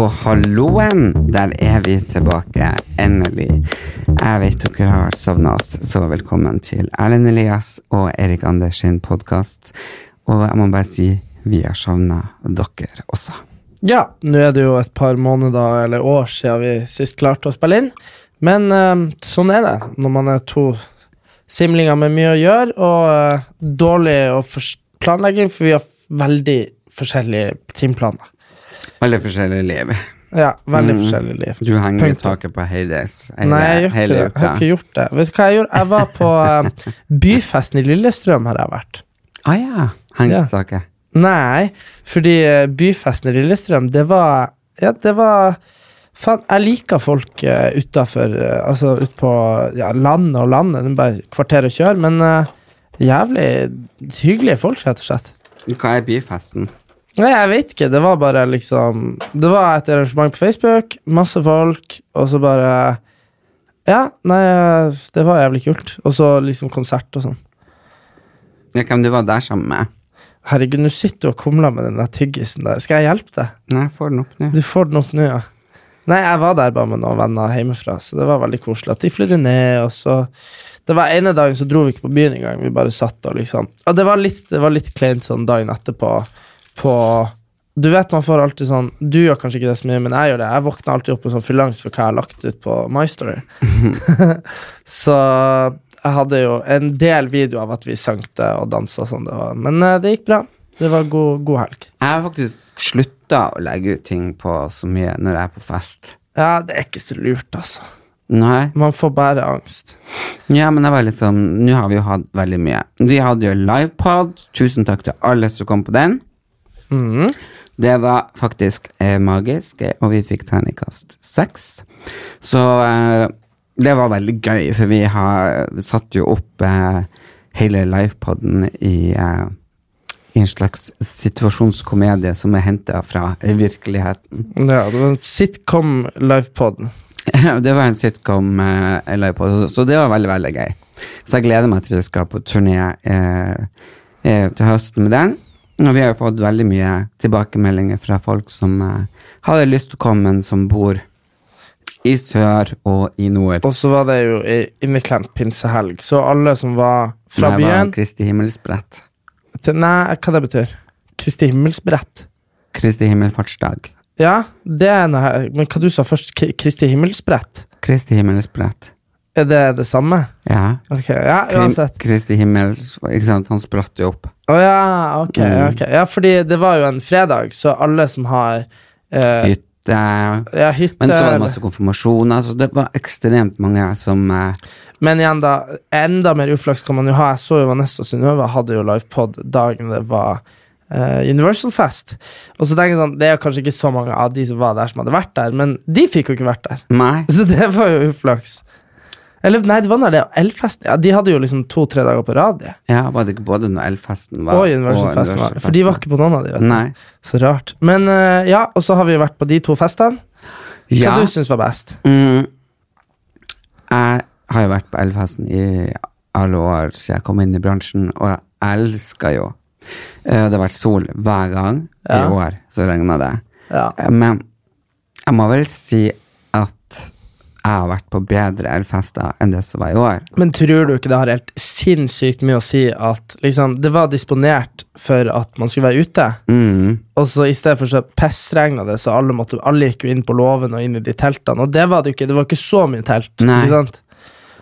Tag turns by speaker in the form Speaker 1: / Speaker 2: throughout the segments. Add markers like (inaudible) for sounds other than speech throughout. Speaker 1: Og halloen, der er vi tilbake. Endelig. Jeg vet dere har sovna oss, så velkommen til Erlend Elias og Erik Anders sin podkast. Og jeg må bare si vi har sovna dere også.
Speaker 2: Ja, nå er det jo et par måneder eller år siden vi sist klarte å spille inn. Men eh, sånn er det når man er to simlinger med mye å gjøre og eh, dårlig å fors- planlegging, for vi har f- veldig forskjellige timeplaner.
Speaker 1: Alle forskjellige liv.
Speaker 2: Ja, veldig
Speaker 1: Mm.
Speaker 2: forskjellige liv.
Speaker 1: Du henger i
Speaker 2: Punktum.
Speaker 1: taket på Hades hele,
Speaker 2: Nei, jeg gjør ikke
Speaker 1: hele
Speaker 2: det. Jeg har ikke gjort det. Vet du hva jeg gjorde? Jeg var på eh, byfesten i Lillestrøm, har jeg vært.
Speaker 1: Ah, ja. Henger i
Speaker 2: Ja.
Speaker 1: taket.
Speaker 2: Nei, fordi eh, byfesten i Lillestrøm, det var Ja, det var Faen, jeg liker folk uh, utafor Altså ut på ja, landet og landet. Det er bare kvarter å kjøre, men eh, jævlig hyggelige folk, rett og slett.
Speaker 1: Hva er byfesten?
Speaker 2: Nei, jeg vet ikke. Det var bare liksom Det var et arrangement på Facebook, masse folk, og så bare Ja, nei, eh, det var jævlig kult. Og så liksom konsert og sånn.
Speaker 1: Ja, Hvem du var der sammen med?
Speaker 2: Herregud, nå sitter du og kumler med den der tyggisen der. Skal jeg hjelpe deg?
Speaker 1: Nei, jeg får den opp nå.
Speaker 2: Du får den opp nå, ja. Nei, jeg var der bare med noen venner hjemmefra, så det var veldig koselig at de flydde ned, og så Det var ene dagen så dro vi ikke på byen engang, vi bare satt og liksom Og det var litt, det var litt kleint sånn dagen etterpå på Du vet man får alltid sånn Du gjør kanskje ikke det så mye, men jeg gjør det. Jeg våkner alltid opp med sånn fyllangst for hva jeg har lagt ut på My Story. (laughs) så jeg hadde jo en del video av at vi sang det og dansa sånn det var. Men eh, det gikk bra. Det var god, god helg.
Speaker 1: Jeg har faktisk slutta å legge ut ting på så mye når jeg er på fest.
Speaker 2: Ja, det er ikke så lurt, altså.
Speaker 1: Nei.
Speaker 2: Man får bare angst.
Speaker 1: Ja, men det var litt sånn Nå har vi jo hatt veldig mye. Vi hadde jo livepod. Tusen takk til alle som kom på den.
Speaker 2: Mhm.
Speaker 1: Det var faktisk eh, magisk, eh, og vi fikk terningkast seks. Så eh, det var veldig gøy, for vi har satt jo opp eh, hele livepoden i, eh, i en slags situasjonskomedie som er henta fra virkeligheten.
Speaker 2: Ja, det var en sitcom livepod.
Speaker 1: (laughs) det var en sitcom eh, jeg la på, så, så det var veldig, veldig gøy. Så jeg gleder meg til vi skal på turné eh, eh, til høsten med den. Og vi har jo fått veldig mye tilbakemeldinger fra folk som eh, hadde lyst til å komme, men som bor i sør og i nord.
Speaker 2: Og så var det jo i inneklemt pinsehelg, så alle som var fra
Speaker 1: Nei, det var
Speaker 2: byen
Speaker 1: Kristi himmelsbrett.
Speaker 2: til, Nei, hva det betyr? Kristi himmelsbrett.
Speaker 1: Kristi himmelfartsdag.
Speaker 2: Ja, det er noe her Men hva du sa først? K- Kristi himmelsbrett?
Speaker 1: Kristi himmelsbrett.
Speaker 2: Er det det samme?
Speaker 1: Ja.
Speaker 2: Ok, ja,
Speaker 1: Krim-
Speaker 2: uansett.
Speaker 1: Kristi himmel, ikke sant, han spratt jo opp.
Speaker 2: Å ja, ok.
Speaker 1: Mm.
Speaker 2: ok Ja, fordi det var jo en fredag, så alle som har eh,
Speaker 1: Hytte.
Speaker 2: ja, hytte
Speaker 1: Men så var det
Speaker 2: eller-
Speaker 1: masse konfirmasjoner, så det var ekstremt mange som eh,
Speaker 2: Men igjen, da. Enda mer uflaks kan man jo ha. Jeg så jo Vanessa Synnøve hadde jo livepod dagen det var eh, Universal Fest. Og så tenker jeg sånn, Det er jo kanskje ikke så mange av de som var der, som hadde vært der, men de fikk jo ikke vært der. (laughs)
Speaker 1: Nei.
Speaker 2: Så det var jo uflaks. Eller nei, det var når det var Elfest. Ja, de hadde jo liksom to-tre dager på rad. Ja.
Speaker 1: Ja, var det ikke både når Elfesten var
Speaker 2: Og Universal Fest. var- For de var ikke på noen av de, vet du.
Speaker 1: Nei.
Speaker 2: Så rart. Men eh, ja, og så har vi jo vært på de to festene. Hva
Speaker 1: Ja.
Speaker 2: du syns var best?
Speaker 1: Mm. Jeg har jo vært på Elfesten i alle år siden jeg kom inn i bransjen, og jeg elsker jo Eh, Det har vært sol hver gang.
Speaker 2: Ja.
Speaker 1: I år så regna det.
Speaker 2: Ja.
Speaker 1: Eh, Men jeg må vel si at jeg har vært på bedre elfester enn det som var i år.
Speaker 2: Men tror du ikke det har helt sinnssykt mye å si at liksom, det var disponert for at man skulle være ute,
Speaker 1: Mm.
Speaker 2: og så i stedet for så pestregna det, så alle, måtte, alle gikk jo inn på låven og inn i de teltene, og det var det jo ikke. Det var ikke så mye telt.
Speaker 1: Nei.
Speaker 2: Ikke sant?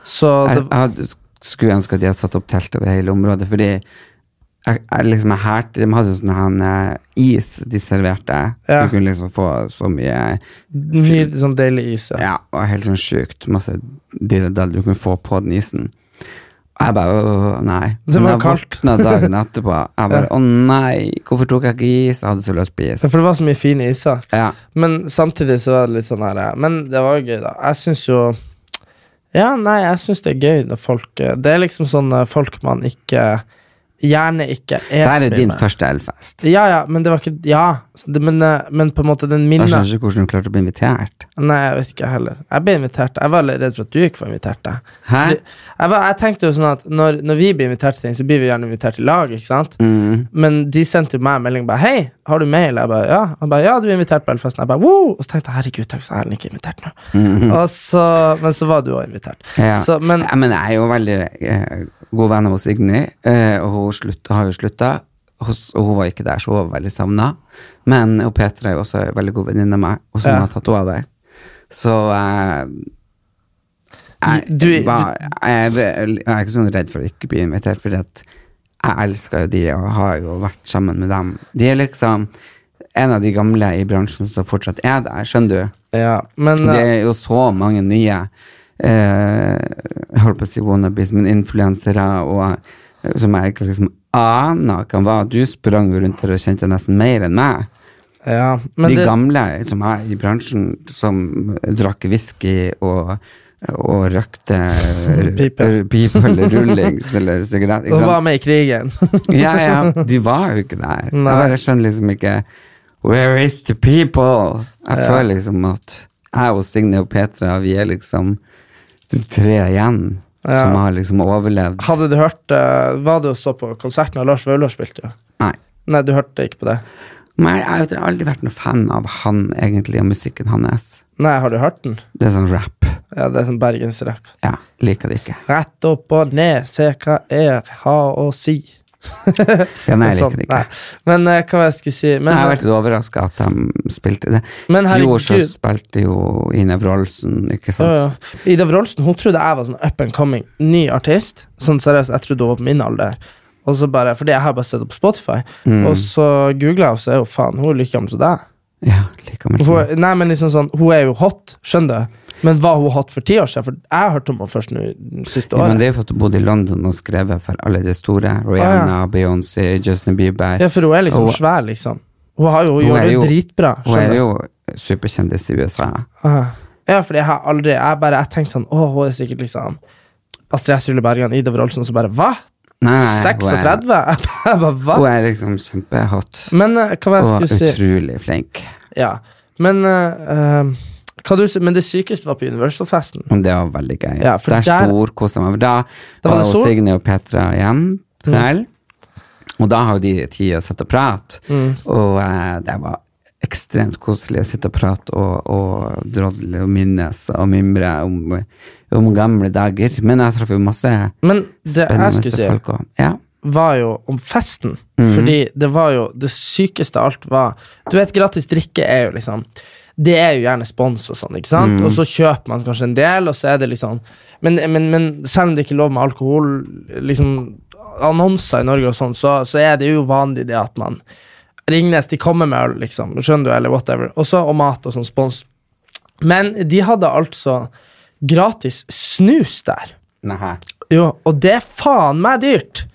Speaker 2: Så
Speaker 1: Jeg,
Speaker 2: det,
Speaker 1: jeg hadde- skulle ønske at de hadde satt opp telt over hele området, fordi jeg, jeg liksom jeg hærte- De hadde sånn han, eh, is de serverte.
Speaker 2: Ja.
Speaker 1: Du kunne liksom få så mye
Speaker 2: mye sånn deilig is. Ja.
Speaker 1: Ja, og helt sånn sjukt masse dilledall du kunne få på den isen. Og jeg bare «Åh, nei.
Speaker 2: Det var
Speaker 1: Men jeg
Speaker 2: kaldt.
Speaker 1: våkna dagen etterpå. Jeg
Speaker 2: (laughs)
Speaker 1: bare å nei, hvorfor tok jeg ikke is? Jeg hadde så lyst på is.
Speaker 2: For det var så mye fine iser.
Speaker 1: Ja.
Speaker 2: Men samtidig så var det litt sånn her Men det var jo gøy, da. Jeg syns jo Ja, nei, jeg syns det er gøy når folk eh, Det er liksom sånne folk man ikke Gjerne ikke
Speaker 1: Dette
Speaker 2: er
Speaker 1: er
Speaker 2: så mye
Speaker 1: din
Speaker 2: med.
Speaker 1: første elfest.
Speaker 2: Ja, ja, men det var ikke Ja, så det, men, eh, men på en måte den
Speaker 1: Jeg
Speaker 2: minner
Speaker 1: skjønner ikke hvordan du klarte å bli invitert.
Speaker 2: Nei, jeg vet ikke heller. Jeg ble invitert. Jeg var litt redd for at du ikke var invitert. da.
Speaker 1: Hæ?
Speaker 2: Fordi Jeg, var, jeg tenkte jo sånn at når, når vi blir invitert til ting, så blir vi gjerne invitert i lag. ikke sant?
Speaker 1: Mm.
Speaker 2: Men de sendte jo meg en melding bare 'Hei, har du mail?' Jeg bare 'Ja'. Han bare 'Ja, du er invitert på Elfesten'. Jeg bare 'Wow!' Og så tenkte jeg 'Herregud, takk, så er han ikke invitert nå'. Og så, Men så var du òg invitert.
Speaker 1: Mm. Ja.
Speaker 2: Så, men
Speaker 1: ja, men jeg er jo veldig eh, god venn av hos Signy, eh, og hun slutt, har jo slutta. hos- Og hun var ikke der, så hun var veldig savna. Men og Petra er jo også en veldig god venninne av meg, og som
Speaker 2: Ja.
Speaker 1: har tatt over. Så eh, jeg,
Speaker 2: Du-
Speaker 1: var, jeg, er- jeg er ikke sånn redd for å ikke bli invitert, for jeg elsker jo de og har jo vært sammen med dem. De er liksom en av de gamle i bransjen som fortsatt er der, skjønner du?
Speaker 2: Ja, men
Speaker 1: Det
Speaker 2: eh,
Speaker 1: er jo så mange nye eh, Jeg holdt på å si wannabes, men influensere og eh, som jeg ikke liksom aner hvem var. Du sprang jo rundt her og kjente nesten mer enn meg.
Speaker 2: ja, men
Speaker 1: De
Speaker 2: det,
Speaker 1: gamle som er i bransjen, som drakk whisky og og røkte
Speaker 2: (laughs) Pipe.
Speaker 1: r- pipe eller rullings eller sigarett. ikke
Speaker 2: Hun
Speaker 1: sant?
Speaker 2: var med i krigen. (laughs)
Speaker 1: Ja, ja, de var jo ikke der. Jeg
Speaker 2: Nei.
Speaker 1: bare skjønner liksom ikke Where is the people? Jeg føler liksom at jeg og Signe og Petra, vi er liksom de tre igjen
Speaker 2: Ja.
Speaker 1: som har liksom overlevd.
Speaker 2: Hadde du hørt eh, Var du og så på konserten av Lars Vaular spilte? jo?
Speaker 1: Nei.
Speaker 2: Nei, du hørte ikke på det?
Speaker 1: Men jeg har aldri- aldri vært noen fan av han egentlig, og musikken hans.
Speaker 2: Nei, har du hørt den?
Speaker 1: Det er sånn rap.
Speaker 2: Ja, det er sånn bergensrapp.
Speaker 1: Ja, liker det ikke.
Speaker 2: Rett opp og ned, se hva jeg har å si.
Speaker 1: Ja, (laughs) nei, jeg liker
Speaker 2: Sånn,
Speaker 1: det
Speaker 2: nei.
Speaker 1: ikke.
Speaker 2: Men eh, hva var det jeg skulle si men, eh,
Speaker 1: Nei, jeg har vært litt overraska at de spilte det.
Speaker 2: Men
Speaker 1: I fjor så
Speaker 2: herregud.
Speaker 1: spilte jo Ine Wroldsen, ikke sant.
Speaker 2: Ja, ja. Ida Wroldsen hun trodde jeg var sånn up and coming, ny artist. Sånn seriøst, Jeg trodde hun var på min alder. Og så bare, Fordi jeg har bare sett henne på Spotify.
Speaker 1: Mm.
Speaker 2: Og så googla jeg, og så er hun faen, hun er like gammel som deg.
Speaker 1: Ja, like
Speaker 2: Hun,
Speaker 1: gammel.
Speaker 2: er- nei, men liksom sånn, hun er jo hot, skjønner du. Men var hun hot for ti år siden? For jeg hørte om henne først nå i- siste
Speaker 1: Ja, men
Speaker 2: året.
Speaker 1: det er jo for at du bodde i London og skrevet for alle de store. Rihanna, Beyoncé, Justin Bieber.
Speaker 2: Ah, Ja, for hun er liksom
Speaker 1: Hun-
Speaker 2: svær, liksom. Hun, har jo, hun,
Speaker 1: Hun
Speaker 2: gjør
Speaker 1: er
Speaker 2: det
Speaker 1: jo-
Speaker 2: dritbra.
Speaker 1: Hun
Speaker 2: skjønner
Speaker 1: er
Speaker 2: du.
Speaker 1: jo superkjendis i USA.
Speaker 2: Ah. Ja, fordi jeg har aldri Jeg bare, jeg tenkte sånn Å, hun er sikkert liksom Astrid S. Julie Bergan, Ida Wroldsen, så bare Hva?
Speaker 1: Nei, nei, hun er-
Speaker 2: 36? (laughs) Jeg bare, hva?
Speaker 1: Hun er liksom kjempehot.
Speaker 2: Men eh, hva var
Speaker 1: Og
Speaker 2: det jeg skulle si?
Speaker 1: utrolig flink.
Speaker 2: Ja. Men, eh, eh, hva du, si- men det sykeste var på Universal-festen.
Speaker 1: Men det var veldig gøy.
Speaker 2: Ja, for
Speaker 1: der
Speaker 2: der-
Speaker 1: storkosa meg. For Da,
Speaker 2: Da
Speaker 1: da
Speaker 2: var
Speaker 1: var
Speaker 2: det sol. Mm.
Speaker 1: jo Signe og Petra igjen. på kveld. Og da har jo de tid å sitte og prate.
Speaker 2: Mm.
Speaker 1: Og eh, det var ekstremt koselig å sitte og prate og, og drodle og minnes og mimre om, om gamle dager. Men jeg traff jo masse
Speaker 2: Men det jeg
Speaker 1: Spennende
Speaker 2: skulle si,
Speaker 1: folk også. Ja.
Speaker 2: var jo om festen. Fordi det var jo Det sykeste av alt var Du vet, gratis drikke er jo liksom Det er jo gjerne spons og sånn, ikke sant? Og så kjøper man kanskje en del, og så er det liksom Men, men, men selv om det ikke er lov med alkohol, liksom annonser i Norge og sånn, så, så er det jo vanlig det at man Ringnes, de kommer med øl, liksom. Skjønner du, eller whatever. Og så og mat og sånn spons. Men de hadde altså gratis snus der.
Speaker 1: Nei.
Speaker 2: Jo, og det er faen meg dyrt.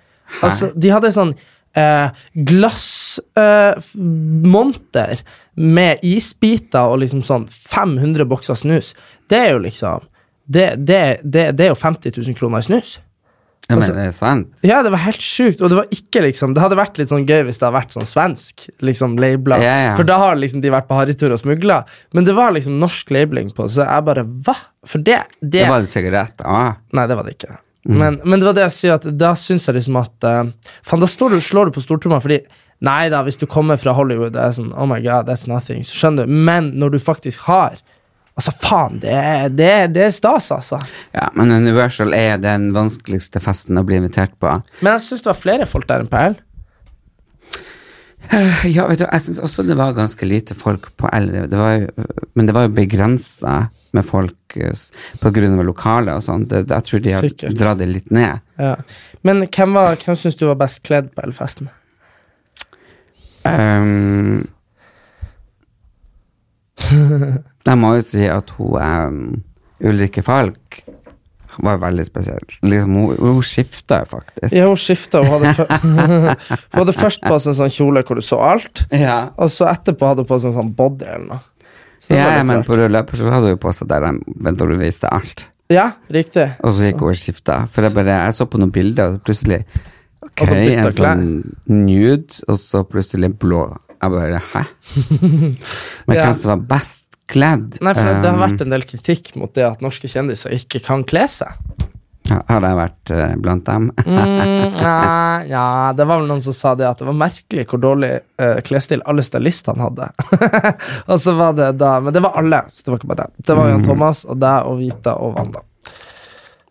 Speaker 2: Altså, de hadde sånn eh, glassmonter eh, f- monter med isbiter og liksom sånn 500 bokser snus. Det er jo liksom Det, det, det, det er jo 50 000 kroner i snus.
Speaker 1: Ja, men
Speaker 2: Altså-
Speaker 1: det er sant.
Speaker 2: Ja, det var helt sjukt. Og det var ikke liksom Det hadde vært litt sånn gøy hvis det hadde vært sånn svensk liksom labela.
Speaker 1: Ja, ja.
Speaker 2: For da har liksom de vært på harrytur og smugla. Men det var liksom norsk labeling på, så jeg bare Hva? For det,
Speaker 1: Det var sigarett. Ah.
Speaker 2: Nei, det var det ikke. Men, men det var det jeg sier at da syns jeg liksom at eh, Faen, da står du, slår du på stortromma fordi Nei da, hvis du kommer fra Hollywood, det er sånn Oh my god, that's nothing. Så skjønner du. Men når du faktisk har Altså, faen, det er, det er, det er stas, altså.
Speaker 1: Ja, men Universal er den vanskeligste festen å bli invitert på.
Speaker 2: Men jeg syns det var flere folk der enn på L.
Speaker 1: Ja, vet du, jeg syns også det var ganske lite folk på L. Det var jo, men det var jo begrensa med folk eh, s- på grunn av lokalet og sånn. Det- det- Jeg tror de har
Speaker 2: Sikkert.
Speaker 1: dratt det litt ned.
Speaker 2: Ja. Men hvem, var- hvem syns du var best kledd på L-festen? Um, (laughs)
Speaker 1: Ehm, jeg må jo si at hun ehm, Ulrikke Falk var veldig spesiell. Liksom, hun, hun skifta jo faktisk.
Speaker 2: Ja, hun skifta. Hun hadde, fø- (laughs) hun hadde først på seg en sånn kjole hvor du så alt,
Speaker 1: Ja.
Speaker 2: og så etterpå hadde hun på seg en sånn body eller noe. Så det
Speaker 1: Ja,
Speaker 2: var
Speaker 1: ja,
Speaker 2: litt
Speaker 1: men
Speaker 2: rart.
Speaker 1: på rød løper så hadde hun jo på seg der de vent til du viste alt.
Speaker 2: Ja, riktig.
Speaker 1: Og så gikk hun og skifta. For jeg bare, jeg så på noen bilder, og så plutselig Ok,
Speaker 2: Og da bytta
Speaker 1: en sånn nude, og så plutselig en blå. Jeg bare
Speaker 2: (laughs)
Speaker 1: hæ? Men
Speaker 2: Ja.
Speaker 1: hvem som var best kledd?
Speaker 2: Nei, for det, det
Speaker 1: Um,
Speaker 2: har vært en del kritikk mot det at norske kjendiser ikke kan kle seg.
Speaker 1: ja, Har jeg vært eh, blant
Speaker 2: (laughs)
Speaker 1: dem?
Speaker 2: Mm, nei, ja, det var vel noen som sa det at det var merkelig hvor dårlig eh, klesstil alle stylistene hadde. (laughs) og så var det da, Men det var alle, så det var ikke bare deg. Det var
Speaker 1: Mm.
Speaker 2: Jan Thomas og deg og Vita og Wanda.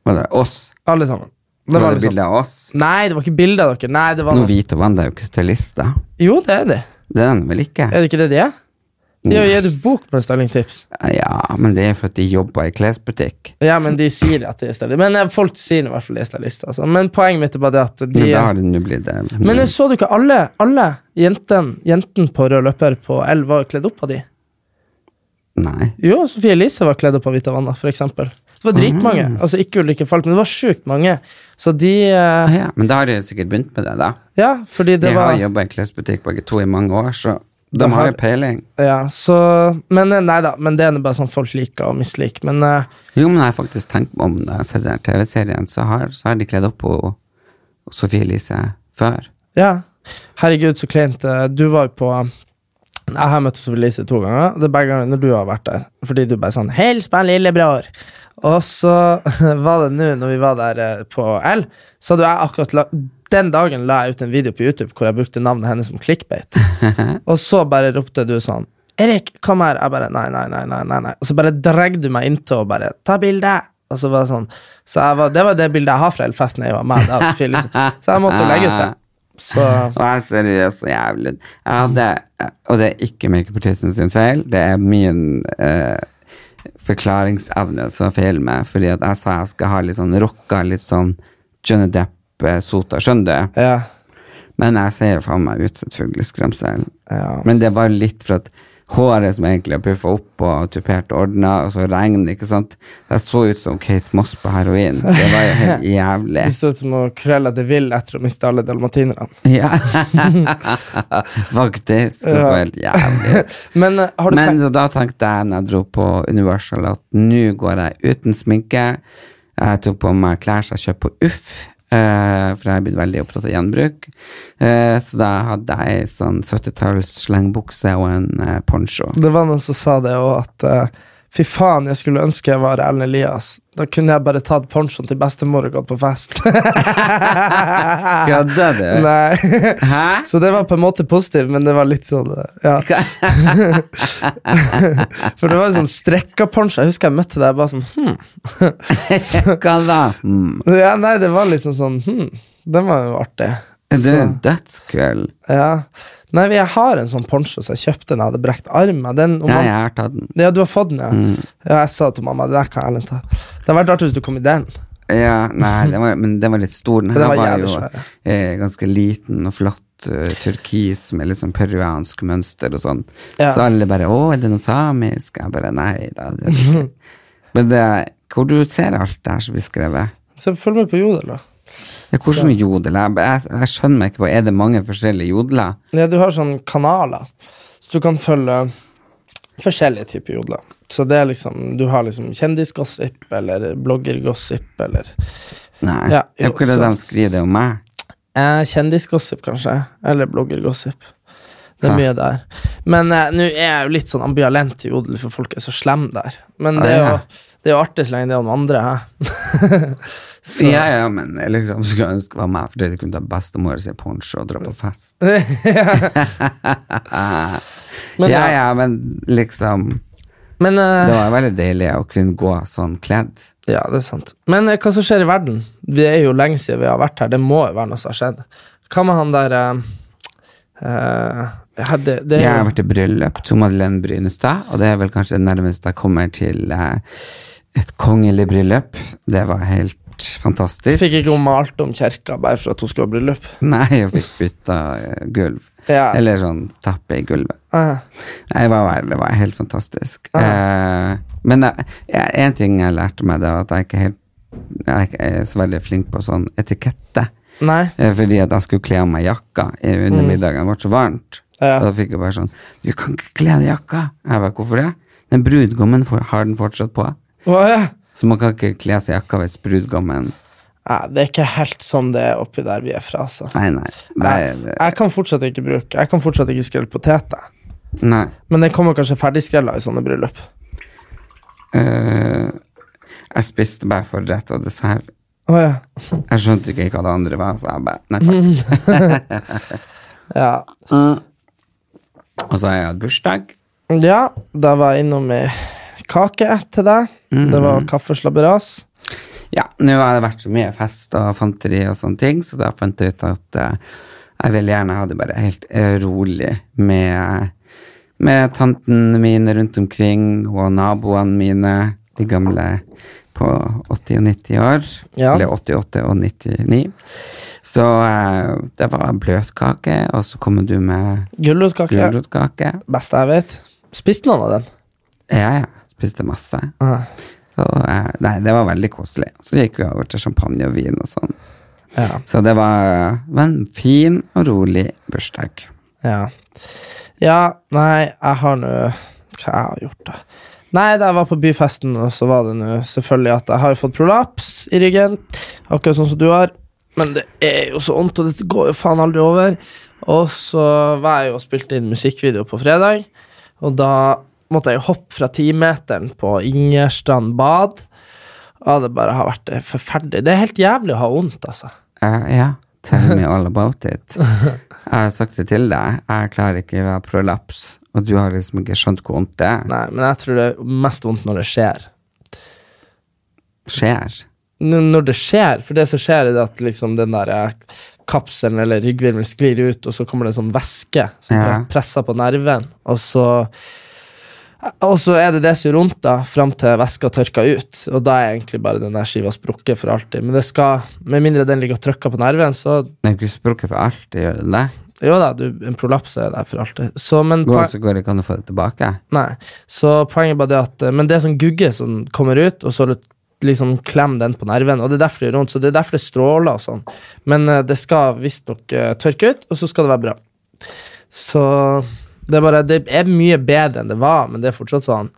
Speaker 1: Var det oss?
Speaker 2: Alle sammen. Det
Speaker 1: Var
Speaker 2: var
Speaker 1: det
Speaker 2: liksom.
Speaker 1: bilde av oss?
Speaker 2: Nei, det var ikke bilde av dere. Nei, det var
Speaker 1: Nå hvit og vann, det er jo ikke stylister.
Speaker 2: Jo, det er de.
Speaker 1: Det er den vel ikke?
Speaker 2: Er det ikke det de er? De har jo gitt ut
Speaker 1: Yes.
Speaker 2: bok med stylingtips.
Speaker 1: Ja, men det er for at de jobber i klesbutikk.
Speaker 2: Ja, men de sier at de er stylister. Men eh, folk sier i hvert fall de er stylister. Altså. Men poenget mitt er bare det at de
Speaker 1: Men da har det nå blitt eh, det.
Speaker 2: Men jeg så du ikke alle, alle jentene jenten på rød løper på L var kledd opp av de?
Speaker 1: Nei.
Speaker 2: Jo, Sofie Elise var kledd opp av Vita Vanna, for eksempel. Det var dritmange. Altså ikke Ulrikke Falk, men det var sjukt mange. Så de
Speaker 1: Ah,
Speaker 2: eh,
Speaker 1: Ja, men da har de sikkert begynt med det, da.
Speaker 2: Ja, fordi det
Speaker 1: de
Speaker 2: var
Speaker 1: har jobba i klesbutikk begge to i mange år, så de
Speaker 2: Da har-
Speaker 1: har jo peiling.
Speaker 2: Ja, så Men eh, nei da, men det er nå bare sånn folk liker og misliker. Men eh,
Speaker 1: Jo, men jeg har faktisk tenkt meg om når jeg har sett den her TV-serien, så har, så har de kledd opp på Sofie Elise før.
Speaker 2: ja. Herregud, så kleint. eh, Du var jo på eh, Jeg har møtt Sofie Elise to ganger. Det er begge ganger når du har vært der. Fordi du bare sånn 'Hils meg, lillebror'. Og så (laughs) var det nå, når vi var der eh, på L, så hadde jo jeg akkurat la Den dagen la jeg ut en video på YouTube hvor jeg brukte navnet hennes som clickbait. Og så bare ropte du sånn Erik, kom her. Jeg bare nei, nei, nei. nei, nei, nei. Og så bare dreg du meg inntil og bare ta bilde. Og så var det sånn Så jeg var, det var det bildet jeg har fra Elfesten. Jeg var med, det var Sofie Elise. så jeg måtte legge ut det. Så
Speaker 1: Og jeg er seriøs og jævlig jeg hadde, Og det er ikke makeupartisten sin feil, det er min eh, forklaringsevne som var feil med, fordi at jeg sa jeg skal ha litt sånn rocka, litt sånn Johnny Depp-sota, skjønner du?
Speaker 2: ja.
Speaker 1: Men jeg ser jo faen meg ut som et fugleskremsel.
Speaker 2: ja.
Speaker 1: Men det var litt for at håret som egentlig har puffa opp og tupert og ordna, og så regn, ikke sant. Jeg så ut som Kate Moss på heroin. Det var jo
Speaker 2: (laughs)
Speaker 1: helt jævlig.
Speaker 2: Det står ut som å krølle det vill etter å miste alle dalmatinerne.
Speaker 1: Ja. (laughs) Faktisk. Det var helt jævlig.
Speaker 2: Men eh, (laughs) har du
Speaker 1: Men
Speaker 2: tenkt
Speaker 1: så da tenkte jeg når jeg dro på Universal at nå går jeg uten sminke. Jeg tok på meg klær som jeg kjøpte på Uff, eh, for jeg er blitt veldig opptatt av gjenbruk. Eh, så da hadde jeg ei sånn 70-talls slengbukse og en eh, poncho.
Speaker 2: Det var noen som sa det òg, at eh, fy faen, jeg skulle ønske jeg var Erlend Elias. Da kunne jeg bare tatt ponchoen til bestemor og gått på
Speaker 1: (laughs)
Speaker 2: fest.
Speaker 1: Kødder du?
Speaker 2: Nei.
Speaker 1: Hæ?
Speaker 2: Så det var på en måte positivt, men det var litt sånn eh, Ja. (laughs) For det var jo sånn strekka poncho. Jeg husker jeg møtte deg, jeg bare sånn hm. (laughs)
Speaker 1: Hva da? Mm.
Speaker 2: Ja, nei, det var liksom sånn hm. Den var jo artig.
Speaker 1: Det er
Speaker 2: Så,
Speaker 1: en dødskveld.
Speaker 2: ja. Nei, men jeg har en sånn poncho som jeg kjøpte da jeg hadde brekt armen. Den, om
Speaker 1: Ja, Mm.
Speaker 2: man-
Speaker 1: jeg har tatt den.
Speaker 2: Ja, du har fått den, ja. Ja, jeg sa til mamma, det der kan Erlend ta. Det hadde vært artig hvis du kom i den.
Speaker 1: Ja,
Speaker 2: (laughs)
Speaker 1: nei, den var, men den var litt stor. Den
Speaker 2: Den
Speaker 1: her
Speaker 2: var
Speaker 1: var,
Speaker 2: jævlig
Speaker 1: jo
Speaker 2: svær,
Speaker 1: eh, ganske liten og flott. eh, Turkis med litt sånn peruansk mønster og sånn.
Speaker 2: Ja.
Speaker 1: Så alle bare 'Å, er det noe samisk?' Jeg bare Nei da. Det er det
Speaker 2: (laughs)
Speaker 1: ikke. men det, hvor du ser alt det her som blir skrevet?
Speaker 2: Så følg med på Jodel, da.
Speaker 1: Ja, hvordan jodel? Jeg, jeg, jeg skjønner meg ikke på Er det mange forskjellige jodler?
Speaker 2: Ja, du har sånne kanaler, så du kan følge forskjellige typer jodler. Så det er liksom, du har liksom kjendisgossip, eller bloggergossip, eller
Speaker 1: Nei.
Speaker 2: Ja,
Speaker 1: er
Speaker 2: jo,
Speaker 1: ikke det
Speaker 2: så-
Speaker 1: de skriver det om meg?
Speaker 2: eh, Kjendisgossip, kanskje. Eller bloggergossip. Det er
Speaker 1: Hæ?
Speaker 2: mye der. Men eh, nå er jeg jo litt sånn ambivalent til jodel, for folk er så slemme der. Men det er jo,
Speaker 1: Ah, ja.
Speaker 2: det er jo artig så lenge det er noen andre, hæ? (laughs) Så-
Speaker 1: Ja, ja, men jeg liksom skulle ønske det var meg, fordi jeg kunne ta bestemor sin poncho og dra på fest.
Speaker 2: Men
Speaker 1: ja,
Speaker 2: ja.
Speaker 1: ja, men liksom
Speaker 2: Men eh,
Speaker 1: Det var veldig deilig å kunne gå sånn kledd.
Speaker 2: Ja, det er sant. Men eh, hva som skjer i verden? Det er jo lenge siden vi har vært her. Det må jo være noe som har skjedd. Hva med han der eh, eh, ja, det, det
Speaker 1: Jeg
Speaker 2: er
Speaker 1: har
Speaker 2: jo,
Speaker 1: vært i bryllup til Madeleine Brynestad, og det er vel kanskje det nærmeste jeg kommer til eh, et kongelig bryllup. Det var helt fantastisk.
Speaker 2: Fikk ikke hun malt om kirka bare for at hun skulle ha bryllup?
Speaker 1: Nei, jeg fikk bytta eh, gulv.
Speaker 2: Ja.
Speaker 1: Eller sånn teppe i gulvet.
Speaker 2: Eh,
Speaker 1: Nei, det var, det var helt fantastisk. Eh, men jeg- jeg- en ting jeg lærte meg, det var at jeg ikke helt jeg er ikke så veldig flink på sånn etikette.
Speaker 2: nei.
Speaker 1: Eh, Fordi at jeg skulle kle av meg jakka eh, under middagen. Det ble så varmt.
Speaker 2: Ja.
Speaker 1: Og da fikk jeg bare sånn Du kan ikke kle av deg jakka! Jeg bare, hvorfor det? Den brudgommen får- har den fortsatt på.
Speaker 2: Hva, ja.
Speaker 1: Så man kan ikke kle av seg jakka hvis brudgommen
Speaker 2: Nei, det er ikke helt sånn det er oppi der vi er fra, altså.
Speaker 1: Nei, nei. Det,
Speaker 2: Jeg,
Speaker 1: er-
Speaker 2: jeg kan fortsatt ikke bruke Jeg kan fortsatt ikke skrelle poteter.
Speaker 1: nei.
Speaker 2: Men det kommer kanskje ferdigskrella i sånne bryllup.
Speaker 1: Eh, jeg spiste bare forrett og dessert.
Speaker 2: Å ja.
Speaker 1: Jeg skjønte ikke hva det andre var, så jeg bare Nei takk.
Speaker 2: ja.
Speaker 1: Mm. Og så har jeg hatt bursdag.
Speaker 2: Ja, da var jeg innom med kake til deg. Det var kaffeslabberas.
Speaker 1: Ja, nå har det vært så mye fest og fanteri og sånne ting, så da fant jeg ut at eh, jeg ville gjerne ha det bare helt eh, rolig med, med tanten mine rundt omkring og naboene mine, de gamle på 80 og 90 år,
Speaker 2: Ja.
Speaker 1: eller 88 og 99. Så eh, det var bløtkake, og så kommer du med
Speaker 2: Gulrotkake.
Speaker 1: gulrotkake.
Speaker 2: Beste jeg vet. Spiste noen av den?
Speaker 1: Ja, ja, spiste masse.
Speaker 2: Ah,
Speaker 1: Og, eh, nei, det var veldig koselig. Så gikk vi over til champagne og vin og sånn.
Speaker 2: Ja.
Speaker 1: Så det var, var en fin og rolig bursdag.
Speaker 2: ja. ja nei, jeg har nå Hva jeg har gjort, da? Nei, da jeg var på byfesten, og så var det nå selvfølgelig at jeg har fått prolaps i ryggen. Akkurat sånn som du har. Men det er jo så vondt, og dette går jo faen aldri over. Og så var jeg jo og spilte inn musikkvideo på fredag, og da måtte jeg jo hoppe fra timeteren på Ingerstrand bad. Ja, det bare har vært eh, forferdelig. Det er helt jævlig å ha vondt, altså.
Speaker 1: Eh, ja, tell me all about
Speaker 2: (laughs)
Speaker 1: it. Jeg har sagt det til deg, jeg klarer ikke å være prolaps, og du har liksom ikke skjønt hvor vondt det er.
Speaker 2: Nei, men jeg tror det er mest vondt når det skjer.
Speaker 1: skjer.
Speaker 2: N- Når det skjer, for det som skjer, er det at liksom den der eh, kapselen eller ryggvirvelen sklir ut, og så kommer det sånn væske som
Speaker 1: Ja.
Speaker 2: pre- presser på nerven, og så og så er det det som gjør vondt, da, fram til væska tørker ut. Og da er egentlig bare den der skiva sprukket for alltid. Men det skal, med mindre den ligger og trykker på nerven, så
Speaker 1: Det er ikke sprukket for alltid, gjør det det?
Speaker 2: Jo da, du, en prolaps er der for alltid. Så, men
Speaker 1: Går,
Speaker 2: poen-
Speaker 1: så går det ikke an å få det tilbake.
Speaker 2: Nei, så poenget er bare det at eh, Men det er sånn gugge som kommer ut, og så l- liksom klem den på nerven, og det er derfor det gjør vondt, så det er derfor det stråler og sånn. Men eh, det skal visstnok eh, tørke ut, og så skal det være bra. Så det er bare Det er mye bedre enn det var, men det er fortsatt sånn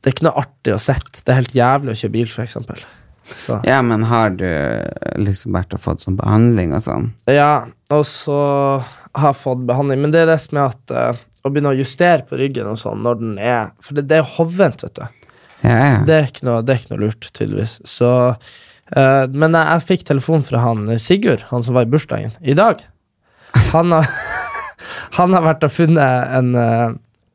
Speaker 2: Det er ikke noe artig å sette. Det er helt jævlig å kjøre bil, for eksempel. Så.
Speaker 1: Ja, men har du liksom vært og fått sånn behandling og sånn?
Speaker 2: Ja, og så har jeg fått behandling. Men det er det som er at eh, å begynne å justere på ryggen og sånn når den er For det, det er hovent, vet du.
Speaker 1: Ja, ja.
Speaker 2: Det er ikke noe, det er ikke noe lurt, tydeligvis. Så, eh, men jeg, jeg fikk telefon fra han eh, Sigurd, han som var i bursdagen, i dag. Han har, (laughs) han har vært og funnet en, eh,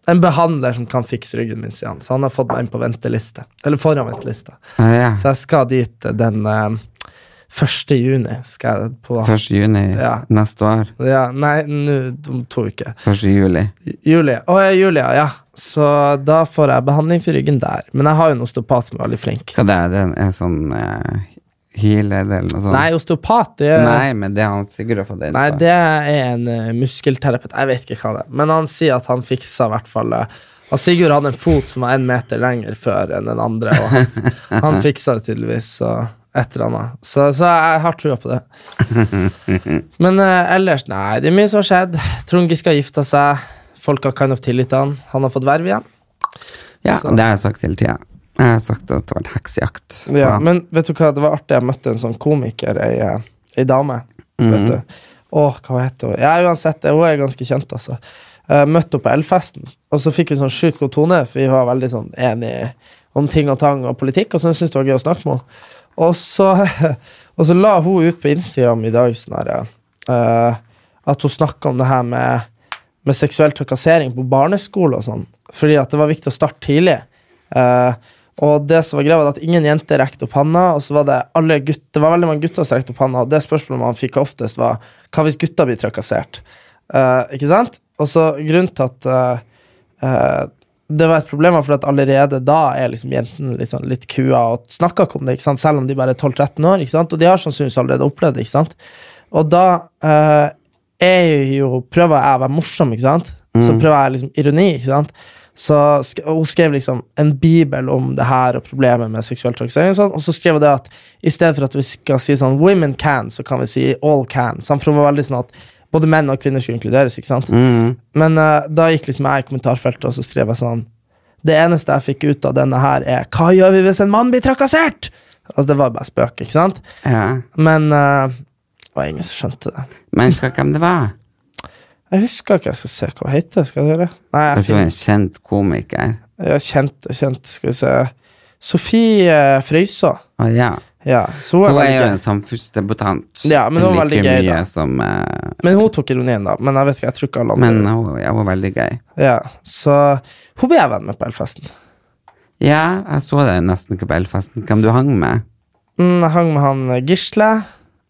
Speaker 2: en behandler som kan fikse ryggen min, sier han. Så han har fått meg inn på venteliste. Eller foran ventelista.
Speaker 1: Ja, ja.
Speaker 2: Så jeg skal dit eh, den eh, 1. juni. Skal jeg på
Speaker 1: 1. juni
Speaker 2: Ja.
Speaker 1: neste år.
Speaker 2: ja, Nei, nå om to uker.
Speaker 1: 1. juli.
Speaker 2: Julie. Å ja, Julia, ja. Så da får jeg behandling for ryggen der. Men jeg har jo en osteopat som er veldig flink.
Speaker 1: Hva det er det? En sånn eh, healer eller noe sånt?
Speaker 2: Nei, osteopat det, nei,
Speaker 1: Nei, men det har han sikkert fått inn på.
Speaker 2: det er en eh, muskelterapeut. Jeg vet ikke hva det er. Men han sier at han fiksa i hvert fall eh, at Sigurd hadde en fot som var en meter lenger før enn den andre, og han, han fiksa det tydeligvis. Så et eller annet. Så, så jeg har trua på det. Men eh, ellers, nei, det er mye som har skjedd. Trond Giske har gifta seg. Folk har kind of tillit til han. Han har fått verv igjen.
Speaker 1: Ja,
Speaker 2: Så-
Speaker 1: det har jeg sagt hele tida. Jeg har sagt at det har vært heksejakt. på
Speaker 2: Ja,
Speaker 1: han.
Speaker 2: men vet du hva, det var artig jeg møtte en sånn komiker, ei, eh, ei dame.
Speaker 1: Mm-hmm.
Speaker 2: Vet
Speaker 1: Mm.
Speaker 2: du. Åh, hva heter hun? Ja, uansett, hun er ganske kjent, altså. Eh, Møtte henne på Elfesten, og så fikk vi sånn sjukt god tone, for vi var veldig sånn enige om ting og tang og politikk, og så syntes jeg det var gøy å snakke med henne. Og så, (laughs) og så la hun ut på Instagram i dag sånn her eh, at hun snakka om det her med, med seksuell trakassering på barneskole og sånn, fordi at det var viktig å starte tidlig. Eh, og det som var greia, var at ingen jenter rekte opp handa, og så var det alle gutt, det var veldig mange gutter som rekte opp handa, og det spørsmålet man fikk oftest, var hva hvis gutta blir trakassert? Eh, ikke sant? Og så grunnen til at eh, eh, det var et problem, var fordi at allerede da er liksom jentene litt, sånn, litt kua og snakker ikke om det, ikke sant? selv om de bare er 12-13 år, ikke sant? og de har sannsynligvis allerede opplevd det. ikke sant? Og da eh, er jo, prøver jeg å være morsom, ikke sant? Så prøver jeg liksom ironi, ikke sant? Så sk og hun skrev liksom en bibel om det her og problemet med seksuell trakassering. Og sånn, og så skrev hun det at i stedet for at vi skal si sånn 'women can', så kan vi si 'all can'. Sant? For hun var veldig sånn at både menn
Speaker 1: Mm.
Speaker 2: og kvinner skulle inkluderes. ikke sant? Men eh, da gikk liksom jeg i kommentarfeltet og så skrev jeg sånn Det eneste jeg fikk ut av denne her, er 'Hva gjør vi hvis en mann blir trakassert?' Altså, det var bare spøk, ikke sant?
Speaker 1: Ja.
Speaker 2: Men eh, det var ingen som skjønte det.
Speaker 1: Men hva hvem det var?
Speaker 2: Jeg husker ikke. Jeg skal se hva hun heter. Skal jeg gjøre det? Nei, (laughs) jeg
Speaker 1: Jeg tror
Speaker 2: finner-
Speaker 1: en kjent komiker.
Speaker 2: Ja, kjent, kjent, skal vi se Sofie Frøysaa.
Speaker 1: Å ja.
Speaker 2: Ja, så hun
Speaker 1: Hun
Speaker 2: er
Speaker 1: er
Speaker 2: veldig
Speaker 1: jo
Speaker 2: gøy.
Speaker 1: en sånn samfunnsdebutant.
Speaker 2: Ja, men hun var veldig
Speaker 1: Like
Speaker 2: gøy, da.
Speaker 1: mye som eh,
Speaker 2: Men hun tok ironien, da. Men jeg vet ikke, jeg tror ikke alle andre
Speaker 1: Men hun, ja, hun var veldig gøy.
Speaker 2: ja, Så hun ble jeg venn med på Elfesten.
Speaker 1: Ja, jeg så deg nesten ikke på Elfesten. Hvem du hang med?
Speaker 2: Mm, jeg hang med han eh, Gisle.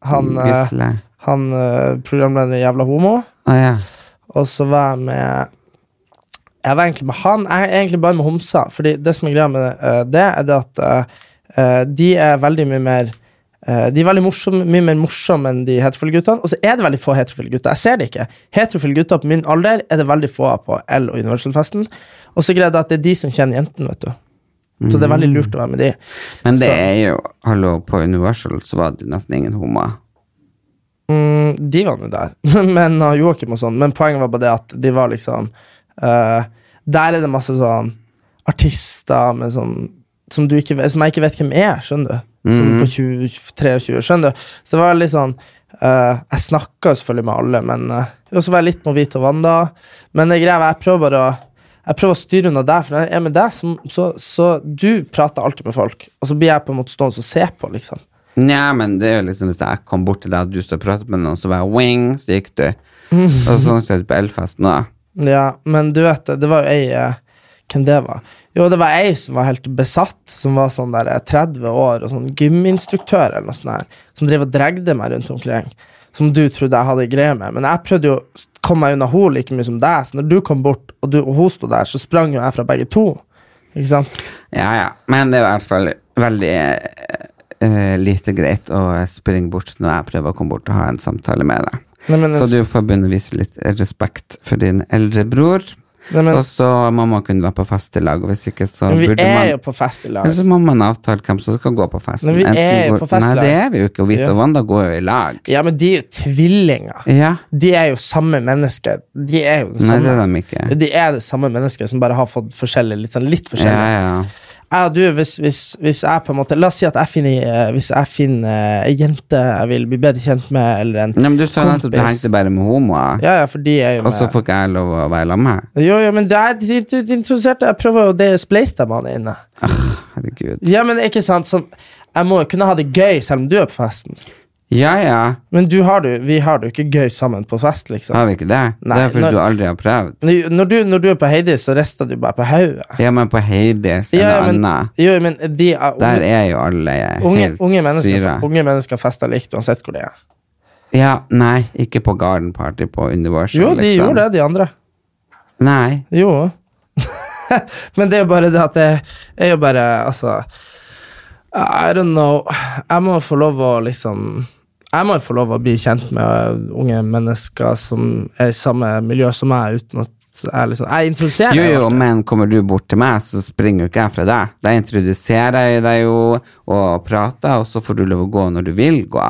Speaker 2: Han, eh,
Speaker 1: Gisle?
Speaker 2: han eh, programlederen i Jævla homo.
Speaker 1: Å ja.
Speaker 2: Og så var jeg med Jeg var egentlig med han. Jeg er egentlig bare med homser. Fordi det som er greia med eh, det, er det at eh, eh, de er veldig mye mer eh, de er veldig morsomme, mye mer morsomme enn de heterofile guttene. Og så er det veldig få heterofile gutter. Jeg ser det ikke. Heterofile gutter på min alder er det veldig få av på L- og Universal-festen. Og så greier det at det er de som kjenner jentene, vet du. Så det er veldig lurt å være med de.
Speaker 1: Men det
Speaker 2: Så-
Speaker 1: er jo Hallo, på Universal så var det jo nesten ingen homoer.
Speaker 2: Mm, de var nå der, (laughs) men og Joakim og sånn. Men poenget var bare det at de var liksom eh, Der er det masse sånn artister med sånn som, du ikke, vet- som jeg ikke vet hvem er, skjønner du. Som på 20, 23, skjønner du. Så det var litt sånn eh, Jeg snakka selvfølgelig med alle, men eh, Og så var jeg litt med Vito Wanda. Men det greia var, jeg prøver bare å jeg prøver å styre unna deg, for når jeg er med deg, så, så, så du prater alltid med folk. Og så blir jeg på en måte stående og se på, liksom.
Speaker 1: Nja, men det er jo liksom hvis jeg kom bort til deg og du står og pratet med noen, så var jeg wing, så gikk
Speaker 2: (laughs)
Speaker 1: du. Og sånn ser det på Elfest nå.
Speaker 2: Ja, men du vet det, det var jo ei eh, Hvem det var? Jo, det var ei som var helt besatt, som var sånn der eh, 30 år og sånn gyminstruktør eller noe sånt der, som drev og dregde meg rundt omkring. Som du trodde jeg hadde greie med. Men jeg prøvde jo å komme meg unna henne like mye som deg, så når du kom bort og, du, og hun sto der, så sprang jo jeg fra begge to. Ikke sant?
Speaker 1: Ja, ja. Men det er i hvert fall veldig eh, lite greit å springe bort når jeg prøver å komme bort og ha en samtale med deg.
Speaker 2: Nei, men,
Speaker 1: Så du får begynne å vise litt respekt for din eldre bror.
Speaker 2: nei, men,
Speaker 1: Og så må man kunne være på fest i lag, og hvis ikke så
Speaker 2: men vi
Speaker 1: burde
Speaker 2: er
Speaker 1: man
Speaker 2: jo på fest i lag.
Speaker 1: Eller så må man avtale hvem som skal gå på festen.
Speaker 2: Men vi
Speaker 1: Enten
Speaker 2: er jo
Speaker 1: går-
Speaker 2: på fest i
Speaker 1: Nei,
Speaker 2: lag.
Speaker 1: det er vi jo ikke. Og Vito
Speaker 2: Ja.
Speaker 1: og Wanda går jo i lag.
Speaker 2: Ja, men de er jo tvillinger.
Speaker 1: Ja.
Speaker 2: De er jo samme menneske. De er jo det
Speaker 1: Nei, det
Speaker 2: samme.
Speaker 1: er de ikke.
Speaker 2: De er det samme mennesket som bare har fått forskjellig, litt, sånn, litt
Speaker 1: Ja,
Speaker 2: forskjellig.
Speaker 1: ja.
Speaker 2: Jeg og du, hvis, hvis, hvis jeg på en måte La oss si at jeg finner eh, Hvis jeg finner ei jente jeg vil bli bedre kjent med, eller en
Speaker 1: Nei, men du sa jo nettopp at du
Speaker 2: Kompis.
Speaker 1: hengte bare med homoer,
Speaker 2: Ja, ja, for de er jo
Speaker 1: og så
Speaker 2: med.
Speaker 1: får ikke jeg lov å være sammen med her.
Speaker 2: Jo, jo, men det er de- de- de introduserte Jeg prøver jo det spleise deg med han inne.
Speaker 1: Herregud.
Speaker 2: Ja, men ikke sant sånn, Jeg må jo kunne ha det gøy selv om du er på festen.
Speaker 1: Ja, ja.
Speaker 2: Men du har det jo- vi har det jo ikke gøy sammen på fest, liksom.
Speaker 1: Har vi ikke det?
Speaker 2: Nei,
Speaker 1: det er fordi
Speaker 2: når-
Speaker 1: du aldri har prøvd.
Speaker 2: Når når du, når du er på Heidi, så rister du bare på hodet.
Speaker 1: Ja, men på Heidis
Speaker 2: Ja,
Speaker 1: eller
Speaker 2: ja, men-
Speaker 1: annet,
Speaker 2: Jo, men de er
Speaker 1: der
Speaker 2: unge,
Speaker 1: er jo alle
Speaker 2: unge,
Speaker 1: helt
Speaker 2: unge, mennesker,
Speaker 1: syre.
Speaker 2: unge mennesker fester likt uansett hvor de er.
Speaker 1: Ja, nei, ikke på Garden Party på Universal,
Speaker 2: Jo, de
Speaker 1: liksom.
Speaker 2: gjorde det, de andre.
Speaker 1: Nei.
Speaker 2: Jo. (laughs) Men det er jo bare det at det er jo bare Altså I don't know. Jeg må få lov å liksom Jeg må jo få lov å bli kjent med unge mennesker som er i samme miljø som meg, uten at jeg liksom Jeg introduserer
Speaker 1: Jo,
Speaker 2: jo
Speaker 1: jo, men kommer du bort til meg, så springer jo ikke jeg fra deg. Da introduserer jeg deg jo og prater, og så får du lov å gå når du vil gå.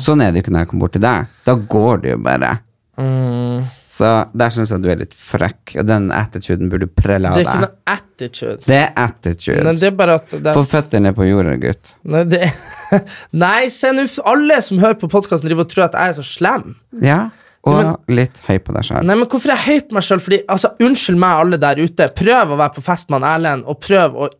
Speaker 1: Sånn er det jo ikke når jeg kommer bort til deg. Da går du jo bare.
Speaker 2: Mm,
Speaker 1: Så der syns jeg du er litt frekk, og den attituden burde du prelle av
Speaker 2: det er ikke
Speaker 1: deg.
Speaker 2: noe attitude.
Speaker 1: Det er attitude.
Speaker 2: Men det er bare at det,
Speaker 1: Få føttene ned på jorda, gutt.
Speaker 2: nei, det, (laughs) nei, se nå Alle som hører på podkasten, driver og tror at jeg er så slem.
Speaker 1: Ja, og
Speaker 2: Ja,
Speaker 1: litt høy på deg sjøl.
Speaker 2: Nei, men hvorfor er jeg høy på meg sjøl? Fordi, altså, unnskyld meg, alle der ute. Prøv å være på fest med han Erlend, og prøv å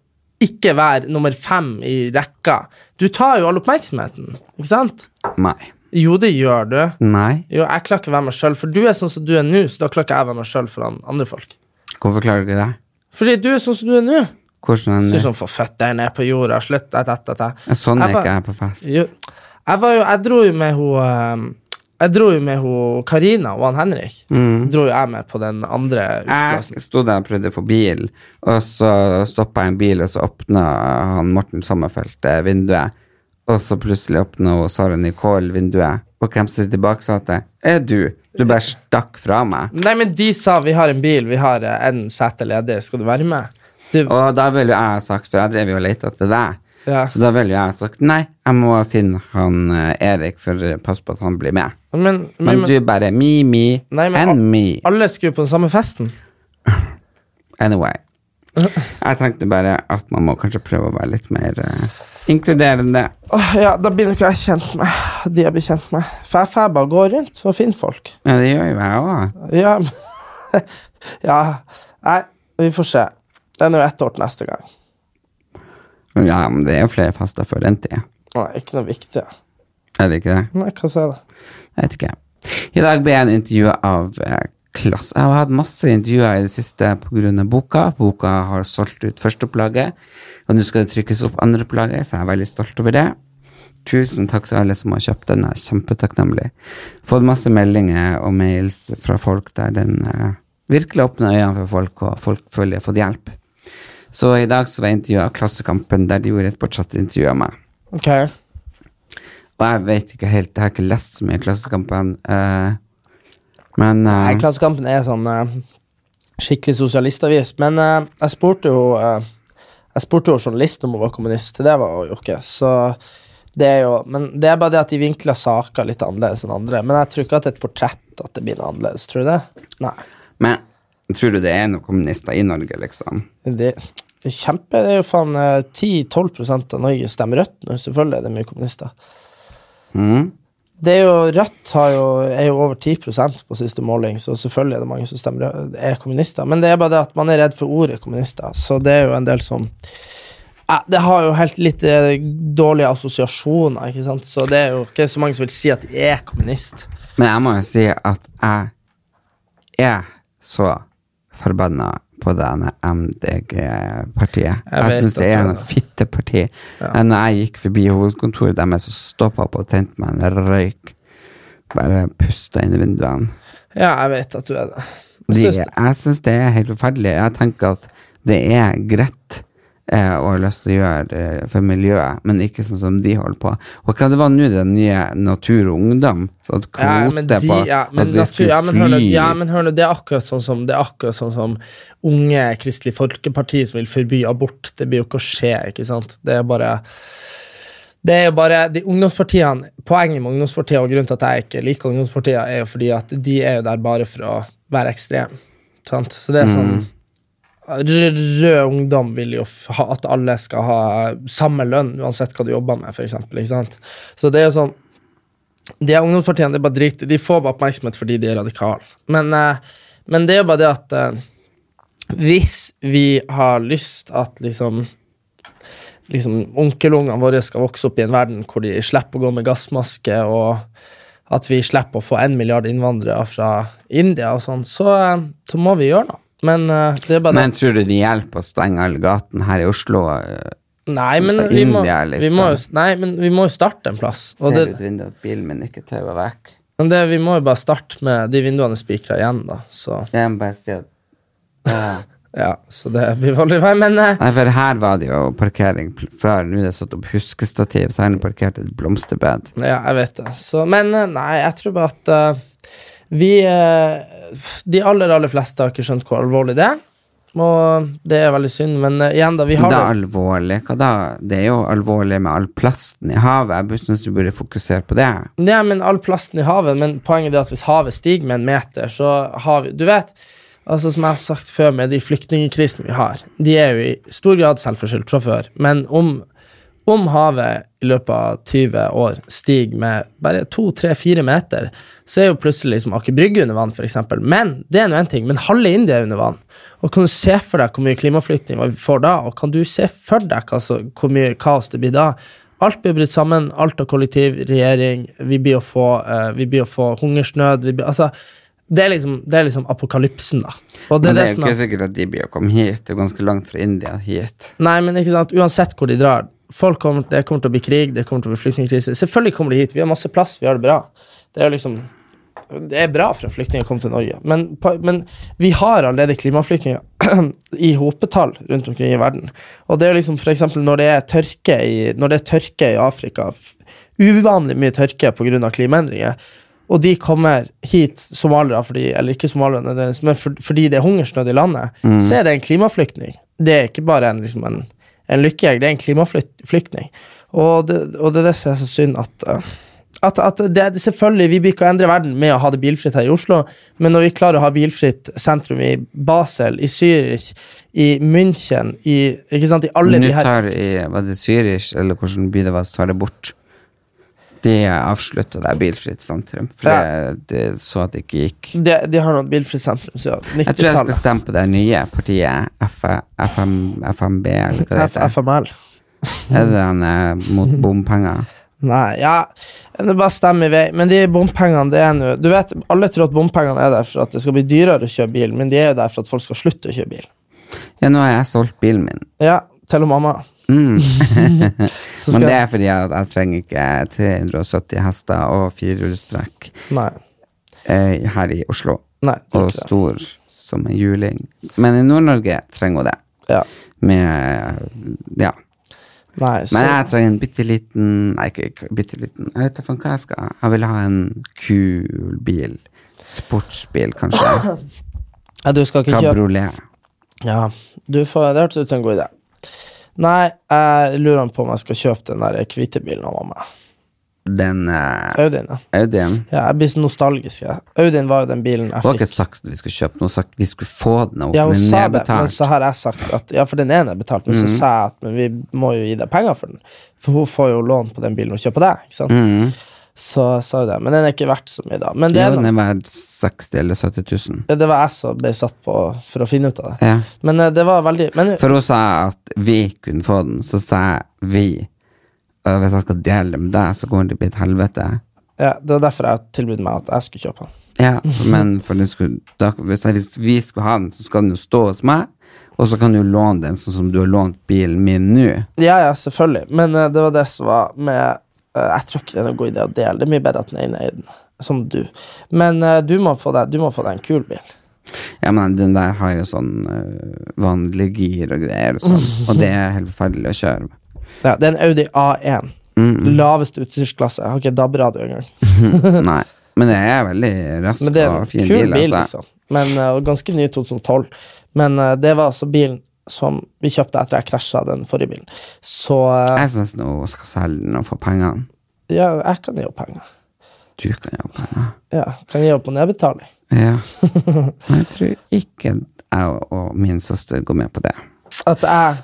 Speaker 2: ikke være nummer fem i rekka. Du tar jo all oppmerksomheten, ikke sant?
Speaker 1: Nei.
Speaker 2: Jo, det gjør du.
Speaker 1: Nei.
Speaker 2: Jo, jeg klarer ikke å være meg sjøl, for du er sånn som du er nå, så da klarer ikke jeg å være meg sjøl foran andre folk.
Speaker 1: Hvorfor klarer du ikke det?
Speaker 2: Fordi du er sånn som du er nå.
Speaker 1: Hvordan
Speaker 2: Sier sånn, få føttene ned på jorda, slutt, et, et, et, et.
Speaker 1: Ja, Sånn
Speaker 2: Jeg
Speaker 1: er
Speaker 2: bare-
Speaker 1: ikke jeg på fest.
Speaker 2: Jo, jeg, var jo, jeg dro jo med hun eh, Jeg dro jo med hun Karina og han Henrik. Dro jo jeg med på den andre uteplassen.
Speaker 1: Jeg sto der og prøvde å få bil, og så stoppa jeg en bil, og så åpna han Morten Sommerfelt eh, vinduet. Og så plutselig åpna hun Sara Nicole vinduet, og hvem som sitter bak, sa til Er du? Du bare stakk fra meg.
Speaker 2: Nei, men de sa vi har en bil, vi har eh, en sete ledig, skal du være med? Du,
Speaker 1: Og da ville jo jeg ha sagt, for jeg drev jo og leita etter deg,
Speaker 2: ja.
Speaker 1: så da ville jo jeg ha sagt nei, jeg må finne han eh, Erik, for eh, pass på at han blir med.
Speaker 2: Men, men,
Speaker 1: Men du bare me, me,
Speaker 2: Nei, men-
Speaker 1: and me.
Speaker 2: alle skulle på den samme festen.
Speaker 1: Anyway. Jeg tenkte bare at man må kanskje prøve å være litt mer eh, inkluderende.
Speaker 2: Åh, Ja, da blir jo ikke jeg kjent med de jeg blir kjent med. For jeg får bare gå rundt og finne folk.
Speaker 1: Ja, det gjør jo jeg òg.
Speaker 2: Ja, men- (laughs) ja. Nei, vi får se. Det er nå ett år til neste gang.
Speaker 1: Ja, men det er jo flere fester før den tid.
Speaker 2: Nei, ikke noe viktig.
Speaker 1: Er det ikke det?
Speaker 2: Nei, hva så er det?
Speaker 1: Jeg vet ikke. I dag ble jeg intervjua av eh, Klass. Jeg har hatt masse intervjuer i det siste pga. boka. Boka har solgt ut førsteopplaget, og nå skal det trykkes opp andreopplaget, så jeg er veldig stolt over det. Tusen takk til alle som har kjøpt den, jeg er kjempetakknemlig. Fått masse meldinger og mails fra folk der den eh, virkelig åpner øynene for folk, og folk føler de har fått hjelp. Så i dag så var jeg intervjua av Klassekampen, der de gjorde et portrettintervju av meg.
Speaker 2: Ok.
Speaker 1: Og jeg vet ikke helt, jeg har ikke lest så mye Klassekampen. eh, men eh,
Speaker 2: Nei, Klassekampen er sånn eh, skikkelig sosialistavis. Men eh, jeg spurte jo eh, Jeg spurte jo journalist om hun var kommunist. Det var hun jo ikke. Så det er jo Men det er bare det at de vinkler saker litt annerledes enn andre. Men jeg tror ikke at et portrett at det blir noe annerledes. Tror du det? Nei.
Speaker 1: Men tror du det er noen kommunister i Norge, liksom?
Speaker 2: Det, det er kjempe Det er jo faen eh, 10-12 prosent av Norge stemmer Rødt nå. Selvfølgelig er det mye kommunister.
Speaker 1: Mm?
Speaker 2: Det er jo, Rødt har jo, er jo over 10 på siste måling, så selvfølgelig er det mange som stemmer Rød- er kommunister. Men det er bare det at man er redd for ordet kommunister, så det er jo en del som Eh, Det har jo helt litt eh, dårlige assosiasjoner, ikke sant? så det er jo ikke så mange som vil si at de er kommunist.
Speaker 1: Men jeg må jo si at jeg er så forbanna på denne MDG-partiet.
Speaker 2: Jeg
Speaker 1: Jeg,
Speaker 2: vet
Speaker 1: synes syns det
Speaker 2: at
Speaker 1: er
Speaker 2: det er
Speaker 1: en fitteparti. Men Når jeg gikk forbi hovedkontoret deres, så stoppa opp og tente meg en røyk. Bare pusta inn i vinduene.
Speaker 2: Ja, jeg vet at du er det. Jeg
Speaker 1: De,
Speaker 2: synes det-
Speaker 1: jeg syns det er helt forferdelig. Jeg tenker at det er greit eh, å ha lyst til å gjøre det for miljøet, men ikke sånn som de holder på. Og hva det var nå, den nye Natur og Ungdom? Så at kvote
Speaker 2: Ja, men de,
Speaker 1: på
Speaker 2: ja, men
Speaker 1: at vi
Speaker 2: natur,
Speaker 1: skulle
Speaker 2: ja, men hør nå,
Speaker 1: fly
Speaker 2: ja, men hør nå, det er akkurat sånn som Det er akkurat sånn som unge Kristelig Folkeparti som vil forby abort. Det blir jo ikke å skje, ikke sant? Det er bare det er jo bare, de ungdomspartiene, Poenget med ungdomspartier og grunnen til at jeg ikke liker ungdomspartier, er jo fordi at de er jo der bare for å være ekstrem. Sant? Så det er sånn
Speaker 1: Mm.
Speaker 2: Rød, rød ungdom vil jo f- ha at alle skal ha samme lønn uansett hva du jobber med, for eksempel, ikke sant? Så det er jo sånn de her ungdomspartiene det er bare drit. De får bare oppmerksomhet fordi de er radikale. Men, eh, men det er jo bare det at eh, hvis vi har lyst at liksom liksom onkelungene våre skal vokse opp i en verden hvor de slipper å gå med gassmaske, og at vi slipper å få en milliard innvandrere fra India og sånn, så, eh, så må vi gjøre noe. Men eh, det er bare det.
Speaker 1: Men tror du det hjelper å stenge alle gatene her i Oslo? eh,
Speaker 2: Nei, men
Speaker 1: India,
Speaker 2: vi må, vi
Speaker 1: liksom.
Speaker 2: må, jo, nei, men vi må jo starte en plass. Og
Speaker 1: Ser
Speaker 2: det,
Speaker 1: ut vinduet at bilen min ikke tauer vekk?
Speaker 2: men det, vi må jo bare starte med de vinduene spikra igjen, da. Så,
Speaker 1: Jeg må bare si at Ja.
Speaker 2: ja, så det blir veldig feil. Men eh,
Speaker 1: Nei, for her var det jo parkering pl- før. Nå er det satt opp huskestativ, så her er det parkert et blomsterbed.
Speaker 2: Ja, jeg vet det. Så, men eh, nei, jeg tror bare at eh, vi eh, De aller, aller fleste har ikke skjønt hvor alvorlig det er. Og det er veldig synd, men eh, igjen, da. Vi
Speaker 1: Men
Speaker 2: har
Speaker 1: det er
Speaker 2: det.
Speaker 1: alvorlig. Hva da? Det er jo alvorlig med all plasten i havet. Jeg bare synes du burde fokusere på det.
Speaker 2: Ja, men all plasten i havet, men poenget er at hvis havet stiger med en meter, så har vi Du vet, altså som jeg har sagt før, med de flyktningkrisene vi har, de er jo i stor grad selvforskyldt fra før, men om om havet i løpet av 20 år stiger med bare 2-3-4 meter, så er jo plutselig liksom Aker Brygge under vann, f.eks. Men det er nå én ting, men halve India er under vann. Og Kan du se for deg hvor mye klimaflyktninger vi får da, og kan du se for deg altså, hvor mye kaos det blir da? Alt blir brutt sammen, alt av kollektiv, regjering, vi blir å få, eh, vi blir å få hungersnød vi blir, altså, det, er liksom, det er liksom apokalypsen, da. Og det
Speaker 1: Men
Speaker 2: er
Speaker 1: det
Speaker 2: det
Speaker 1: er jo
Speaker 2: som er
Speaker 1: ikke sikkert at de blir å komme hit. Det er ganske langt fra India hit.
Speaker 2: Nei, men ikke sant, uansett hvor de drar folk kommer, Det kommer til å bli krig, det kommer til å bli flyktningkrise. Selvfølgelig kommer de hit. Vi har masse plass, vi har det bra. Det er jo liksom Det er bra for en flyktning å komme til Norge, men, pa- men vi har allerede klimaflyktninger (clears throat) i hopetall rundt omkring i verden. Og det er jo liksom for eksempel når det er tørke i, når det er tørke i Afrika, f- uvanlig mye tørke pga. klimaendringer, og de kommer hit, somaliere, fordi, eller ikke somaliere, nødvendigvis, men for, fordi det er hungersnød i landet, så er det en klimaflyktning. Det er ikke bare en, liksom en, en lykkejeger, det er en klimaflyktning. Og det, og det er det som er så synd, at eh, at, at det, det- selvfølgelig, Vi blir ikke å endre verden med å ha det bilfritt her i Oslo, men når vi klarer å ha bilfritt sentrum i Basel, i Zürich, i München, i, ikke sant, i alle
Speaker 1: Nå
Speaker 2: de her
Speaker 1: tar i, var det Zürich, eller hvordan by det var, så tar det bort. Det avslutta der bilfritt sentrum, for
Speaker 2: Ja.
Speaker 1: det, det så at det ikke gikk.
Speaker 2: De, de har noe bilfritt sentrum siden
Speaker 1: Jeg tror jeg skal
Speaker 2: 90-tallet.
Speaker 1: stemme på det nye partiet, F FM, FMB, eller hva det
Speaker 2: F-
Speaker 1: heter.
Speaker 2: FML.
Speaker 1: Er det den eh, mot bompenger?
Speaker 2: Nei, ja Det er bare stemmer i vei. Men de bompengene, det er nå Du vet, alle tror at bompengene er der for at det skal bli dyrere å kjøre bil, men de er jo der for at folk skal slutte å kjøre bil.
Speaker 1: Ja, nå har jeg solgt bilen min.
Speaker 2: Ja, til og mamma.
Speaker 1: Mm.
Speaker 2: (laughs) Så
Speaker 1: Men
Speaker 2: skal-
Speaker 1: det er fordi at jeg trenger ikke 370 hester og firehjulstrekk
Speaker 2: Nei.
Speaker 1: eh, her i Oslo.
Speaker 2: Nei det er
Speaker 1: Og
Speaker 2: ikke det.
Speaker 1: stor som en juling. Men i Nord-Norge trenger hun det.
Speaker 2: Ja.
Speaker 1: Med Ja.
Speaker 2: Nei, så,
Speaker 1: Men jeg trenger en bitte liten Nei, ikke- ikke bitte liten. Jeg vet da faen hva jeg skal. Jeg vil ha en kul bil. Sportsbil,
Speaker 2: (coughs)
Speaker 1: kanskje.
Speaker 2: ja, du skal ikke kjøpe
Speaker 1: Kabriolet.
Speaker 2: Ja, du får, det hørtes ut som en god idé. Nei, jeg lurer på om jeg skal kjøpe den der hvite bilen av mamma.
Speaker 1: Den eh,
Speaker 2: Audien, ja.
Speaker 1: Audien.
Speaker 2: ja. Jeg blir så nostalgisk. Jeg. Audien var jo den bilen jeg
Speaker 1: Du har ikke
Speaker 2: fikk.
Speaker 1: sagt at vi skulle kjøpe noe, sagt vi skulle få den, og
Speaker 2: Ja,
Speaker 1: få
Speaker 2: hun
Speaker 1: den Mhm.
Speaker 2: sa det, men
Speaker 1: nedbetalt.
Speaker 2: så har jeg sagt at Ja, for den ene er betalt, men så sa jeg at men vi må jo gi deg penger for den. For hun får jo lån på den bilen hun kjøper deg, ikke sant.
Speaker 1: Mm.
Speaker 2: Så jeg sa jo det. Men den er ikke verdt så mye, da. Men det,
Speaker 1: Ja,
Speaker 2: er
Speaker 1: den
Speaker 2: noe-
Speaker 1: er verdt 60 eller 70 000.
Speaker 2: ja, det var jeg som ble satt på for å finne ut av det.
Speaker 1: Ja.
Speaker 2: Men eh, det var veldig Men
Speaker 1: For hun sa at vi kunne få den, så sa jeg vi. Og hvis jeg skal dele det med deg, så kommer det til å bli et helvete.
Speaker 2: ja, det var derfor jeg tilbød meg at jeg skulle kjøpe den. (laughs)
Speaker 1: Ja, men for den skulle, da, hvis, jeg, hvis vi skulle ha den, så skal den jo stå hos meg. Og så kan du låne den sånn som du har lånt bilen min nå.
Speaker 2: Ja, ja, selvfølgelig. Men eh, det var det som var med eh, Jeg tror ikke det er noen god idé å dele. Det er mye bedre at den ene eier den, som du. Men eh, du, må få deg, du må få deg en kul bil.
Speaker 1: Ja, men den der har jo sånn øh, vanlig gir og greier og sånn, og det er helt forferdelig å kjøre.
Speaker 2: (laughs) Ja, det er en Audi A1.
Speaker 1: Mm,
Speaker 2: Laveste utstyrsklasse. Jeg har ikke DAB-radio engang.
Speaker 1: mm, nei. Men det er veldig rask
Speaker 2: Men det er
Speaker 1: og
Speaker 2: en
Speaker 1: fin
Speaker 2: kul
Speaker 1: bil,
Speaker 2: bil,
Speaker 1: altså.
Speaker 2: liksom. Men, eh, og ganske ny i 2012. Men eh, det var altså bilen som vi kjøpte etter jeg krasja den forrige bilen. Så eh,
Speaker 1: Jeg syns nå hun skal selge den og få pengene.
Speaker 2: ja, jeg kan gi opp penger.
Speaker 1: Du kan jo ha penger.
Speaker 2: Ja, kan gi opp på nedbetaling. (laughs)
Speaker 1: Ja. Men jeg tror ikke jeg og min søster går med på det.
Speaker 2: At jeg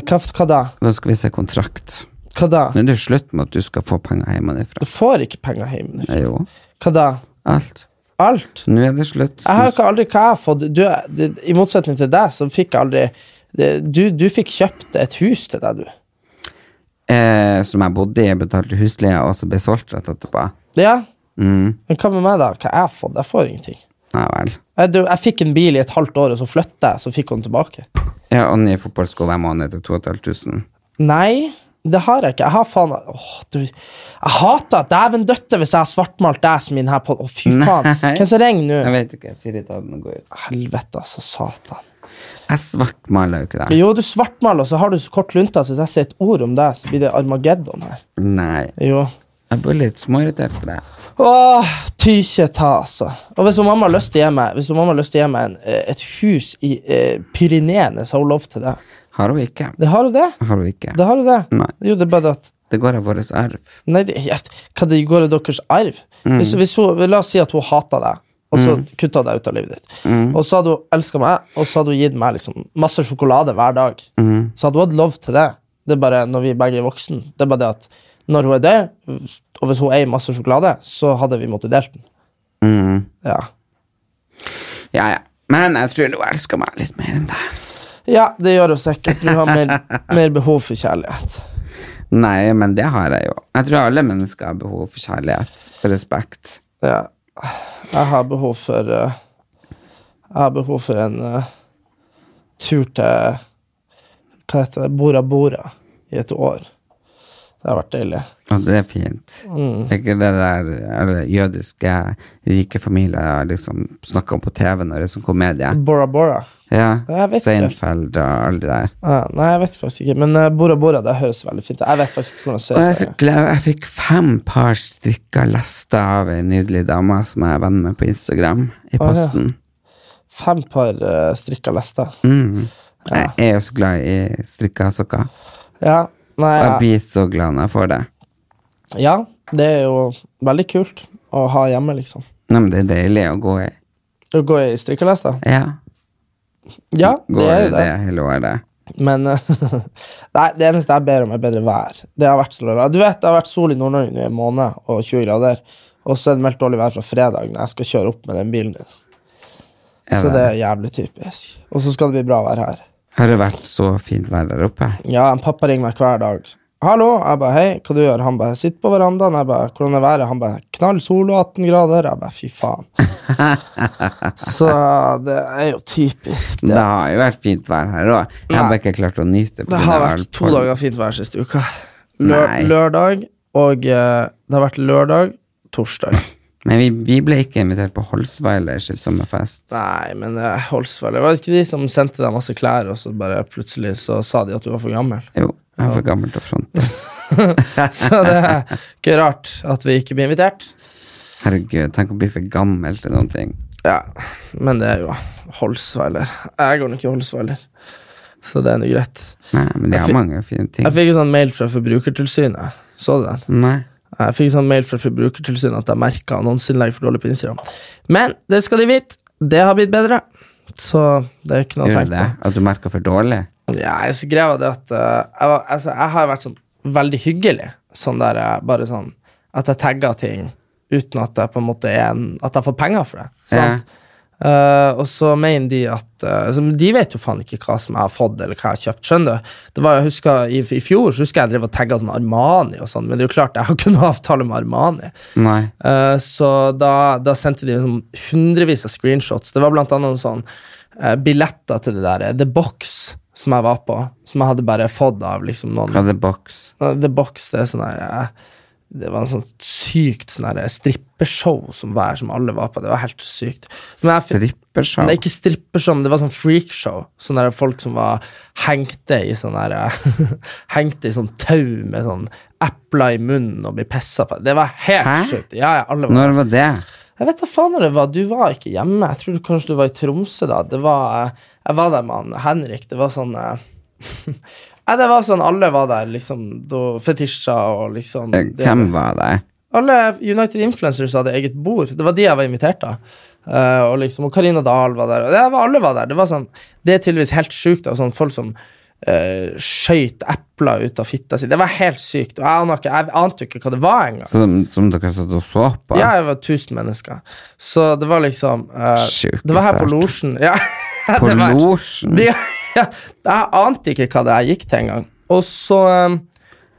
Speaker 2: Hva, hva da?
Speaker 1: Da skal vi se kontrakt.
Speaker 2: Hva da?
Speaker 1: Nå er det slutt med at du skal få penger hjemmefra.
Speaker 2: Du får ikke penger hjemme.
Speaker 1: Jo,
Speaker 2: Hva da?
Speaker 1: alt.
Speaker 2: Alt?
Speaker 1: Nå er det slutt.
Speaker 2: Jeg har jo ikke aldri hva jeg har fått du, er- det, I motsetning til deg, så fikk jeg aldri det, du, du fikk kjøpt et hus til deg, du.
Speaker 1: Eh, som jeg bodde i, jeg betalte husleie, og så ble solgt rett etterpå.
Speaker 2: Ja,
Speaker 1: Mm.
Speaker 2: Men hva med meg, da? Hva jeg har fått? Jeg får ingenting.
Speaker 1: Nei vel.
Speaker 2: Jeg, du, jeg fikk en bil i et halvt år, og så flytta jeg, så fikk hun tilbake.
Speaker 1: Ja, og nye fotballsko hver måned til 2500.
Speaker 2: Nei, det har jeg ikke. Jeg har faen Åh, du Jeg hater dæven døtte hvis jeg har svartmalt deg som min her på Å, fy faen.
Speaker 1: (laughs) Nei.
Speaker 2: Hvem som ringer
Speaker 1: Jeg
Speaker 2: nå?
Speaker 1: vet ikke. Siri ta den og gå ut.
Speaker 2: Helvete, altså. Satan.
Speaker 1: Jeg svartmaler jo ikke det.
Speaker 2: Jo, du svartmaler, og så har du så kort lunte at hvis jeg sier et ord om deg, så blir det Armageddon her.
Speaker 1: Nei.
Speaker 2: Jo.
Speaker 1: Jeg blir litt småirritert på det.
Speaker 2: Åh, tykje ta, altså. Og hvis hun mamma har lyst til å gi meg, hvis hun mamma har lyst til å gi meg en, eh, et hus i eh, Pyreneene, så har hun lov til det.
Speaker 1: Har hun ikke.
Speaker 2: Det har hun det.
Speaker 1: Har hun ikke.
Speaker 2: Det har hun det.
Speaker 1: Nei.
Speaker 2: Jo, det er bare det at
Speaker 1: Det går av vår arv.
Speaker 2: Nei, det, jeg- hva det går i deres arv? Hvis, hvis hun, la oss si at hun hata deg, og så kutta deg ut av livet ditt. Og så hadde hun elska meg, og så hadde hun gitt meg liksom, masse sjokolade hver dag. Så hadde hun hatt lov til det. Det er bare når vi begge er voksne. Det er bare det at når hun er død, og hvis hun eier masse sjokolade, så hadde vi måttet delt den.
Speaker 1: Mm.
Speaker 2: Ja.
Speaker 1: Ja, ja. Men jeg tror du elsker meg litt mer enn deg.
Speaker 2: ja, det gjør hun sikkert. Du har mer, mer behov for kjærlighet.
Speaker 1: Nei, men det har jeg jo. Jeg tror alle mennesker har behov for kjærlighet og respekt.
Speaker 2: Ja. Jeg har behov for eh, Jeg har behov for en eh, tur til Hva heter det? Bora Bora i et år. Det har vært deilig.
Speaker 1: Og det er fint.
Speaker 2: Mm.
Speaker 1: Det er Ikke det der alle jødiske rike familier har liksom snakker om på TV når det er sånn komedie.
Speaker 2: Bora Bora?
Speaker 1: Ja,
Speaker 2: Jeg vet ikke.
Speaker 1: Seinfeld og alle de der.
Speaker 2: Ja, nei, jeg vet faktisk ikke. Men eh, Bora Bora det høres veldig fint ut. Jeg vet faktisk ikke hvordan det
Speaker 1: Og jeg er så
Speaker 2: ser ut.
Speaker 1: glad. Jeg fikk fem par strikker lesta av ei nydelig dame som jeg er venn med på Instagram, i
Speaker 2: ja.
Speaker 1: posten.
Speaker 2: Fem par eh, strikka lester.
Speaker 1: Mm. Jeg er jo så glad i strikka sokker.
Speaker 2: Ja. Nei,
Speaker 1: Og jeg
Speaker 2: jeg,
Speaker 1: blir så glad når jeg får det.
Speaker 2: ja. Det er jo veldig kult å ha hjemme, liksom.
Speaker 1: Nei, men det er deilig å gå i.
Speaker 2: Å gå i strikkelest, da.
Speaker 1: Ja.
Speaker 2: Ja, det
Speaker 1: Går
Speaker 2: er
Speaker 1: i
Speaker 2: jo
Speaker 1: det
Speaker 2: det.
Speaker 1: hele året.
Speaker 2: Men eh, (laughs) Nei, det eneste jeg ber om, er bedre vær. Det har vært så dårlig vær. Du vet, det har vært sol i Nord-Norge nå i en måned og 20 grader, og så er det meldt dårlig vær fra fredag når jeg skal kjøre opp med den bilen din.
Speaker 1: Ja,
Speaker 2: Så
Speaker 1: vel.
Speaker 2: det er jævlig typisk. Og så skal det bli bra vær her.
Speaker 1: Har det vært så fint vær der oppe?
Speaker 2: Ja, en pappa ringer meg hver dag. 'Hallo.' Jeg bare 'Hei, hva du gjør?' Han bare 'Sitter på verandaen.' Jeg bare 'Hvordan er været?' Han bare 'Knall sol og 18 grader.' Jeg bare 'Fy faen'. Så det er jo typisk,
Speaker 1: Det
Speaker 2: det.
Speaker 1: har jo vært fint vær her òg. Jeg har
Speaker 2: Nei.
Speaker 1: bare ikke klart å nyte på
Speaker 2: Det
Speaker 1: grunn
Speaker 2: har
Speaker 1: av
Speaker 2: vært to
Speaker 1: alkohol.
Speaker 2: dager fint vær siste uka. Lø
Speaker 1: Nei.
Speaker 2: lørdag og eh, Det har vært lørdag,
Speaker 1: (laughs)
Speaker 2: torsdag.
Speaker 1: Men vi, vi ble ikke invitert på Holsweiler sitt sommerfest.
Speaker 2: Nei, men det holdt vel. Det var ikke de som sendte deg masse klær, og så bare plutselig så sa de at du var for
Speaker 1: (laughs)
Speaker 2: gammel.
Speaker 1: Jo, jeg er for gammel til å fronte.
Speaker 2: Så det er ikke rart at vi ikke blir invitert.
Speaker 1: Herregud, tenk å bli for gammel til noen ting.
Speaker 2: Ja, men det er jo Holsweiler. Jeg går nok i Holsweiler, så det er nå greit.
Speaker 1: Nei, men de
Speaker 2: Jeg
Speaker 1: har
Speaker 2: fi-
Speaker 1: mange fine ting.
Speaker 2: Jeg fikk en sånn mail fra Forbrukertilsynet. Så du den?
Speaker 1: Nei.
Speaker 2: Jeg fikk en sånn mail fra Forbrukertilsynet at jeg merka annonseinnlegg for dårlig på Instagram. Men det skal de vite, det har blitt bedre. Så det er ikke noe å
Speaker 1: Gjør du
Speaker 2: tenke
Speaker 1: det?
Speaker 2: på.
Speaker 1: At du merker for dårlig?
Speaker 2: Ja, jeg så greia det at eh, jeg, var, altså, jeg har vært sånn veldig hyggelig. Sånn der eh, bare sånn At jeg tagger ting uten at jeg på en måte er en At jeg har fått penger for det. Sant? Eh, og så mener de at eh, altså, men De vet jo faen ikke hva som jeg har fått, eller hva jeg har kjøpt. Skjønner du? Det var, jeg husker, i, I fjor så husker jeg jeg drev og tagga sånn Armani og sånn, men det er jo klart jeg har ikke noe avtale med Armani.
Speaker 1: Nei.
Speaker 2: Eh, så da, da sendte de liksom hundrevis av screenshots. Det var blant annet noen sånn eh, billetter til det der eh, The Box som jeg var på, som jeg hadde bare fått av liksom noen.
Speaker 1: Hva er det boks?
Speaker 2: Eh, The Box, det er sånn der eh, Det var en sånn sykt sånn der, eh, strippeshow som, var, som alle var på. Det var helt sykt. Men jeg, fi-
Speaker 1: Strippershow?
Speaker 2: det er ikke strippeshow, men det var sånn freakshow. Sånne der folk som var hengte i sånn der (laughs) Hengte i sånn tau med sånn epler i munnen og ble pissa på. Det var helt
Speaker 1: Hæ?
Speaker 2: sjukt. Ja, ja, alle var
Speaker 1: Når var det?
Speaker 2: Jeg vet da faen når det var. Du var ikke hjemme. Jeg tror kanskje du var i Tromsø da. Det var eh, Jeg var der med han Henrik. Det var sånn eh, (laughs) Nei, det var sånn alle var der, liksom. da- Fetisja og liksom
Speaker 1: Eh,
Speaker 2: det-
Speaker 1: Hvem var det?
Speaker 2: alle United Influencers hadde eget bord. Det var de jeg var invitert av. Eh, og liksom, og Karina Dahl var der. Og det var, alle var der. Det var sånn, det er tydeligvis helt sjukt. da, Sånn, folk som uh, skøyt epler ut av fitta si. Det var helt sykt. Og jeg, aner ikke- jeg ante jo ikke hva det var engang.
Speaker 1: Som, som dere satt og så på?
Speaker 2: Ja, jeg var 1000 mennesker. Så det var liksom eh,
Speaker 1: Sjukt
Speaker 2: Det var her på
Speaker 1: sterkt.
Speaker 2: losjen. Ja, (laughs) det
Speaker 1: På
Speaker 2: var-
Speaker 1: losjen?
Speaker 2: det, (laughs) ja, jeg ante ikke hva det jeg gikk til engang. Og så, um,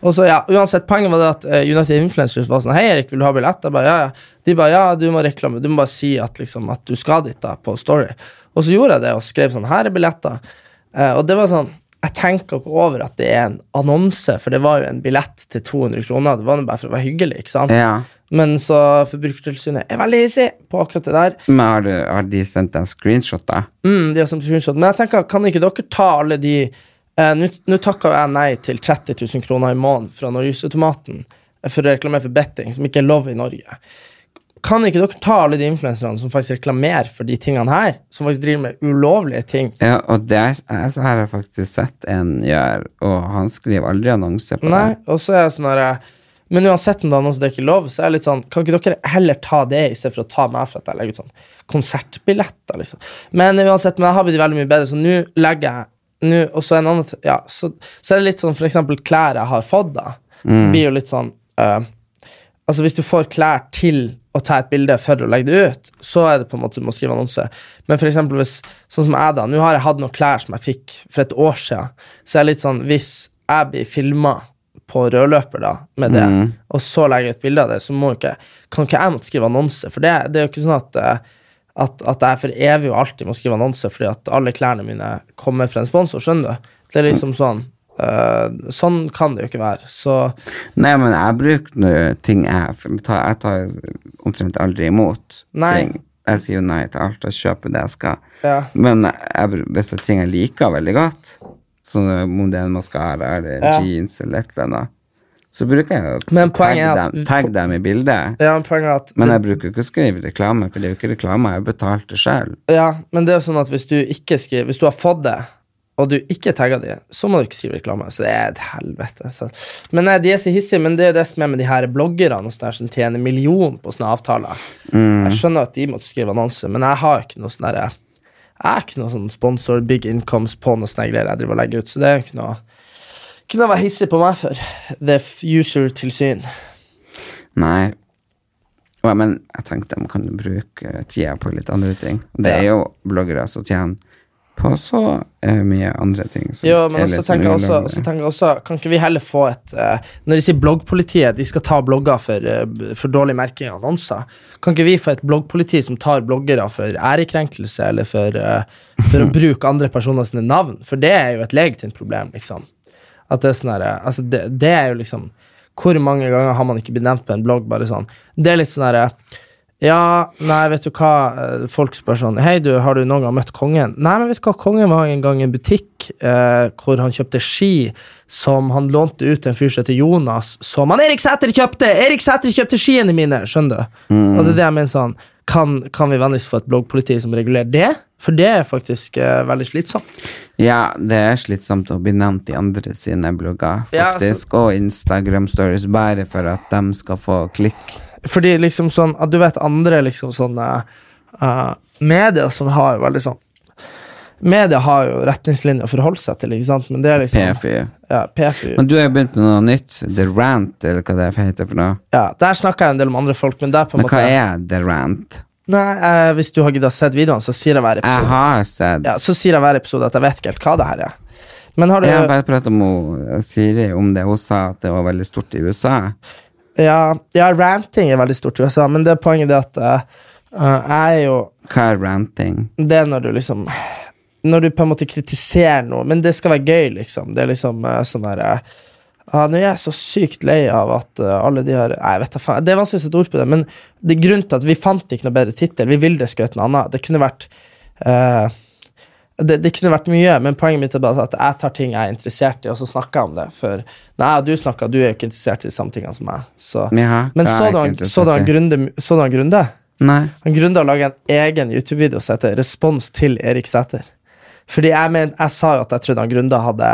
Speaker 2: og så, ja, uansett, poenget var det at eh, United Influencers var sånn Hei, Erik, vil du ha billett? Jeg bare, ja, ja. De bare ja, du må reklame, du må bare si at, liksom, at du skal dit da, på Story. Og så gjorde jeg det og skrev sånn Her er billetter. Eh, og det var sånn jeg tenker ikke over at det er en annonse, for det var jo en billett til 200 kroner. Det var jo bare for å være hyggelig, ikke sant?
Speaker 1: Ja.
Speaker 2: Men så Forbrukertilsynet er veldig easy på akkurat det der.
Speaker 1: Men har, du, har de sendt deg screenshot, da?
Speaker 2: Mm, de har sendt screenshot. Men jeg tenker, kan ikke dere ta alle de eh, Nå nå takka jeg nei til 30 000 kroner i måneden fra Norgesautomaten for å reklamere for betting, som ikke er lov i Norge. Kan ikke dere ta alle de influenserne som faktisk reklamerer for de tingene her, som faktisk driver med ulovlige ting?
Speaker 1: Ja, og det er, jeg- så har jeg faktisk sett en gjøre, og han skriver aldri annonse på
Speaker 2: Nei,
Speaker 1: det.
Speaker 2: og så er jeg sånn her, eh, Men uansett om det er noe som det ikke er lov, så er jeg litt sånn Kan ikke dere heller ta det istedenfor å ta meg for at jeg legger ut sånn konsertbilletter, liksom. Men uansett, men jeg har blitt veldig mye bedre, så nå legger jeg nå, og så en annen t- ja, så, så er det litt sånn for eksempel klær jeg har fått, da.
Speaker 1: Mm.
Speaker 2: Blir jo litt sånn eh, Altså Hvis du får klær til å ta et bilde for å legge det ut, så er det på en måte du må skrive annonse. Men for eksempel hvis, sånn som jeg da, nå har jeg hatt noen klær som jeg fikk for et år siden. Så jeg er litt sånn, hvis jeg blir filma på rødløper da, med det, og så legger jeg ut bilde av det, så må ikke, kan ikke jeg måtte skrive annonse. For det, det er jo ikke sånn at, eh, at, at jeg for evig og alltid må skrive annonse fordi at alle klærne mine kommer fra en sponsor, skjønner du? Det er liksom sånn. eh, sånn kan det jo ikke være. Så
Speaker 1: Nei, men jeg bruker nå ting jeg for Jeg tar, jeg tar omtrent aldri imot
Speaker 2: Nei.
Speaker 1: ting. Jeg sier jo nei til alt og kjøper det jeg skal.
Speaker 2: Ja.
Speaker 1: Men jeg, br- hvis det er ting jeg liker veldig godt, sånn om det er en maskara eller
Speaker 2: Ja.
Speaker 1: jeans eller et eller annet, så bruker jeg å
Speaker 2: Men
Speaker 1: tagge
Speaker 2: poenget er at-
Speaker 1: dem, tagge dem i bildet.
Speaker 2: ja, poenget er at
Speaker 1: Men jeg bruker jo ikke å skrive reklame, for det er jo ikke reklame. Jeg har jo betalt det sjøl.
Speaker 2: Ja, men det er jo sånn at hvis du ikke skriver Hvis du har fått det, og du ikke tagger de, så må du ikke skrive reklame. Så det er et helvete. Så. Men nei, de er så hissige, men det er jo det som er med de her bloggerne og sånne her som tjener million på sånne avtaler. Jeg skjønner at de måtte skrive annonse, men jeg har ikke noe sånn derre Jeg har ikke noe sånn sponsor, big incomes på noe sånne greier jeg driver og legger ut, så det er jo ikke noe Ikke noe å være hissig på meg for. The user-tilsyn.
Speaker 1: Nei. Ja, men jeg tenkte de kan bruke tida på litt andre ting. Det er jo bloggere som tjener på så eh, mye andre ting. som
Speaker 2: Jo, men
Speaker 1: er
Speaker 2: også
Speaker 1: litt
Speaker 2: tenker, jeg også,
Speaker 1: ulovlig.
Speaker 2: så tenker jeg også Kan ikke vi heller få et eh, Når de sier bloggpolitiet, de skal ta blogger for, eh, b- for dårlig merking av annonser. Kan ikke vi få et bloggpoliti som tar bloggere for ærekrenkelse eller for, eh, for å
Speaker 1: (laughs)
Speaker 2: bruke andre personer sine navn? For det er jo et legitimt problem, liksom. At det er sånn her, eh, altså det, det er jo liksom Hvor mange ganger har man ikke blitt nevnt på en blogg? Bare sånn Det er litt sånn herre ja, nei, vet du hva, eh, folk spør sånn Hei, du, har du noen gang møtt kongen? Nei, men vet du hva, kongen var en gang i en butikk eh, hvor han kjøpte ski som han lånte ut til en fyr som heter Jonas, som han Erik Sæter kjøpte! Erik Sæter kjøpte skiene mine! Skjønner du? Og det er det jeg mener sånn Kan, kan vi vennligst få et bloggpoliti som regulerer det? For det er faktisk eh, veldig slitsomt.
Speaker 1: Ja, det er slitsomt å bli nevnt i andre sine blogger,
Speaker 2: Ja, altså-
Speaker 1: faktisk. Og Instagram stories, bare for at de skal få klikk.
Speaker 2: Fordi liksom sånn at Du vet andre liksom sånne eh, medier som har jo veldig sånn Media har jo retningslinjer å forholde seg til, ikke sant? men det er liksom
Speaker 1: PFU.
Speaker 2: Ja, PFU.
Speaker 1: Men du har jo begynt med noe nytt. The Rant, eller hva det heter for noe.
Speaker 2: Ja, der snakker jeg en del om andre folk, men det er på en
Speaker 1: Men
Speaker 2: måte
Speaker 1: hva er The Rant?
Speaker 2: Nei, eh, Hvis du har giddet å sett videoene, så sier jeg
Speaker 1: Jeg
Speaker 2: hver episode
Speaker 1: har sett
Speaker 2: Ja, så sier jeg hver episode at jeg vet ikke helt hva det her er. Men har du
Speaker 1: Jeg har
Speaker 2: Ja,
Speaker 1: bare pratet med hun, Siri om det. Hun sa at det var veldig stort i USA.
Speaker 2: ja, ranting er veldig stort i USA, men det er poenget det at eh, eh, jeg er jo
Speaker 1: Hva er ranting?
Speaker 2: Det er når du liksom Når du på en måte kritiserer noe, men det skal være gøy, liksom. Det er liksom eh, sånn der eh, ah, Nå er jeg så sykt lei av at eh, alle de her Nei, vet da faen. Det er vanskelig å sette ord på det, men det er grunnen til at vi fant ikke noe bedre tittel. Vi ville skutt en annen. Det kunne vært eh, det, det kunne vært mye, men poenget mitt er bare at jeg tar ting jeg er interessert i, og så snakker jeg om det. For når jeg og du snakker, du er jo ikke interessert i de samme tingene som meg. Så.
Speaker 1: Ja,
Speaker 2: Men
Speaker 1: det er
Speaker 2: så
Speaker 1: jeg
Speaker 2: du
Speaker 1: ikke
Speaker 2: han- så
Speaker 1: interessert
Speaker 2: du han
Speaker 1: i.
Speaker 2: Grunde- så du han Grunde?
Speaker 1: Nei.
Speaker 2: Han grunda å lage en egen YouTube-video som heter 'Respons til Erik Sæther'. Fordi jeg, men, jeg sa jo at jeg trodde han Grunda hadde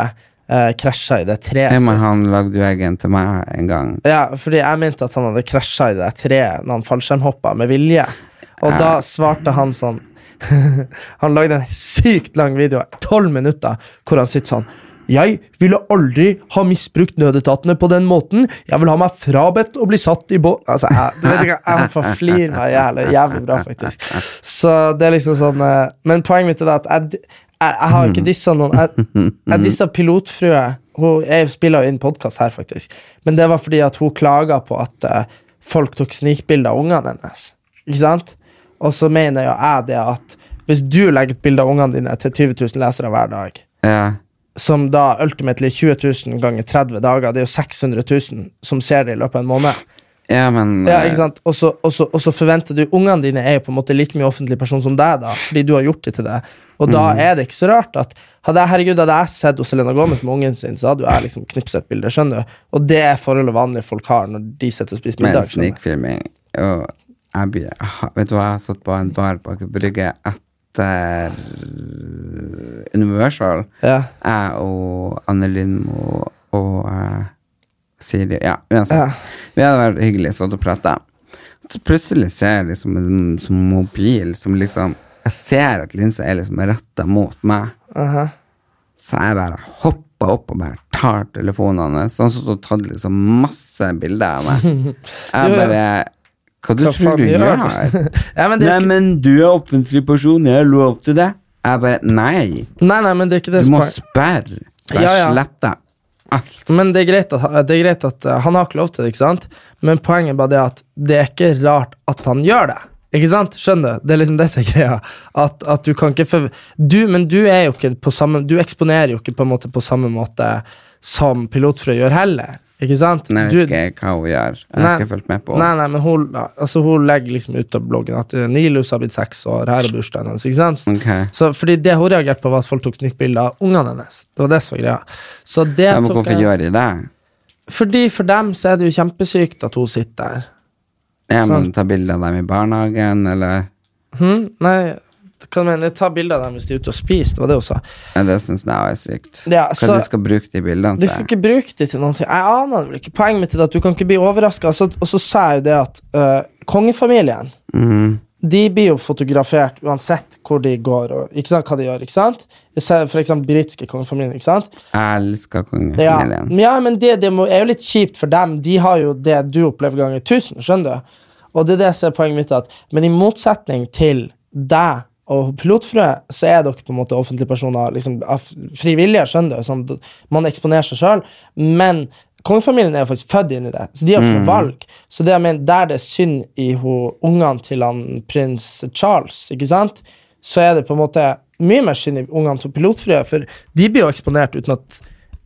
Speaker 2: eh, krasja i det treet.
Speaker 1: Ja, men
Speaker 2: sitt.
Speaker 1: han lagde jo egen til meg en gang.
Speaker 2: Ja, fordi jeg mente at han hadde krasja i det treet når han fallskjermhoppa med vilje. Og da svarte han sånn (laughs) Han lagde en sykt lang video, tolv minutter, hvor han sitter sånn jeg ville aldri ha misbrukt nødetatene på den måten. Jeg vil ha meg frabedt å bli satt i båt Altså, jeg, du vet ikke, jeg må få flire meg jævlig, jævlig bra, faktisk. Så det er liksom sånn eh, Men poenget mitt er da at jeg, jeg, jeg har ikke dissa noen Jeg, jeg dissa pilotfrue hun, jeg spiller jo inn podkast her, faktisk. Men det var fordi at hun klaga på at eh, folk tok snikbilder av ungene hennes. Ikke sant? Og så mener jo jeg det at hvis du legger et bilde av ungene dine til 20 000 lesere hver dag,
Speaker 1: Ja.
Speaker 2: som da ultimately 20 000 ganger 30 dager, det er jo 600 000 som ser det i løpet av en måned.
Speaker 1: ja, men
Speaker 2: Ja,
Speaker 1: eh,
Speaker 2: ikke sant? Og så, og, så, og så forventer du Ungene dine er jo på en måte like mye offentlig person som deg, da, fordi du har gjort det til deg. Og da
Speaker 1: Mm.
Speaker 2: er det ikke så rart at hadde jeg, herregud, hadde jeg sett hos Selena Gomez med ungen sin, så hadde jo jeg liksom knipset et bilde. skjønner du? Og det er forholdet vanlige folk har når de sitter og spiser
Speaker 1: men
Speaker 2: middag. skjønner du?
Speaker 1: snikfilming og jeg blir, ha- Vet du hva, jeg har satt på en bar bak i brygge etter Universal.
Speaker 2: Ja.
Speaker 1: Jeg og Anne Lindmo og eh, Siri Ja, uansett.
Speaker 2: Ja.
Speaker 1: Vi hadde vært hyggelig stått og prata. Så plutselig ser jeg liksom en sånn mobil som liksom Jeg ser at linsa er liksom retta mot meg.
Speaker 2: aha.
Speaker 1: Så jeg bare hoppa opp og bare tar telefonen hans. Så Han stod og tatt liksom masse bilder
Speaker 2: (laughs)
Speaker 1: av meg.
Speaker 2: Jo,
Speaker 1: Jeg
Speaker 2: ja.
Speaker 1: bare Hva du
Speaker 2: Hva faen
Speaker 1: tror du
Speaker 2: gjør
Speaker 1: gjør?
Speaker 2: du? Ja, (laughs) men det er
Speaker 1: Nei,
Speaker 2: ikke-
Speaker 1: men du er offentlig person, jeg har lov til det. Jeg bare Nei,
Speaker 2: Nei, nei, men det er ikke det
Speaker 1: du
Speaker 2: som
Speaker 1: må
Speaker 2: er-
Speaker 1: sperre. Så jeg
Speaker 2: Ja, Mm. ja.
Speaker 1: sletter alt.
Speaker 2: Men det er greit at, det er greit at eh, han har ikke lov til det, ikke sant? Men poenget er bare det at det er ikke rart at han gjør det. Ikke sant? Skjønner du? Det er liksom det som er greia. At, at du kan ikke forv- du, Men du er jo ikke på samme Du eksponerer jo ikke på en måte på samme måte som pilotfrø gjør heller. Ikke sant?
Speaker 1: Nei,
Speaker 2: Du-
Speaker 1: jeg vet ikke hva hun gjør. Jeg har ikke fulgt med på
Speaker 2: Nei, nei, men hun, altså, hun legger liksom ut av bloggen at eh, Nilus har blitt seks år, her er bursdagen hennes. ikke sant?
Speaker 1: Ok.
Speaker 2: Så, fordi det hun reagerte på, var at folk tok snittbilder av ungene hennes. Det var det som var greia. Så det
Speaker 1: Ja, men
Speaker 2: tok
Speaker 1: hvorfor
Speaker 2: jeg-
Speaker 1: gjør de det?
Speaker 2: fordi for dem så er det jo kjempesykt at hun sitter der.
Speaker 1: Ja, men
Speaker 2: Sant.
Speaker 1: ta bilde av dem i barnehagen, eller
Speaker 2: Hm? Nei, Kan man ta bilder av dem hvis de er ute og spiser? Det var det hun sa.
Speaker 1: Ja, det syns jeg også er sykt.
Speaker 2: Ja,
Speaker 1: Hva
Speaker 2: så-
Speaker 1: de skal bruke de bildene
Speaker 2: De skal ikke bruke det til noen ting. Jeg aner det vel ikke. Poenget mitt er at du kan ikke bli overraska. Og, så- og så sa jeg jo det at eh, kongefamilien
Speaker 1: Mhm.
Speaker 2: de blir jo fotografert uansett hvor de går og ikke sant, hva de gjør. ikke sant? Jeg ser For eksempel britiske kongefamilien. ikke sant?
Speaker 1: Jeg elsker
Speaker 2: Ja,
Speaker 1: kongefamilien.
Speaker 2: men ja, men det, det må, er jo litt kjipt for dem. De har jo det du opplever ganger tusen, skjønner du? Og det er det som er poenget mitt. At, men i motsetning til deg og pilotfrø, så er dere på en måte offentlige personer liksom, av fri vilje, skjønner du? Sånn, d- man eksponerer seg sjøl. Men kongefamilien er jo faktisk født inn i det, så de har ikke noe valg. Så det jeg mener, der det er synd i ho, ungene til han, prins Charles, ikke sant, så er det på en måte mye mer synd i ungene til pilotfrø, for de blir jo eksponert uten at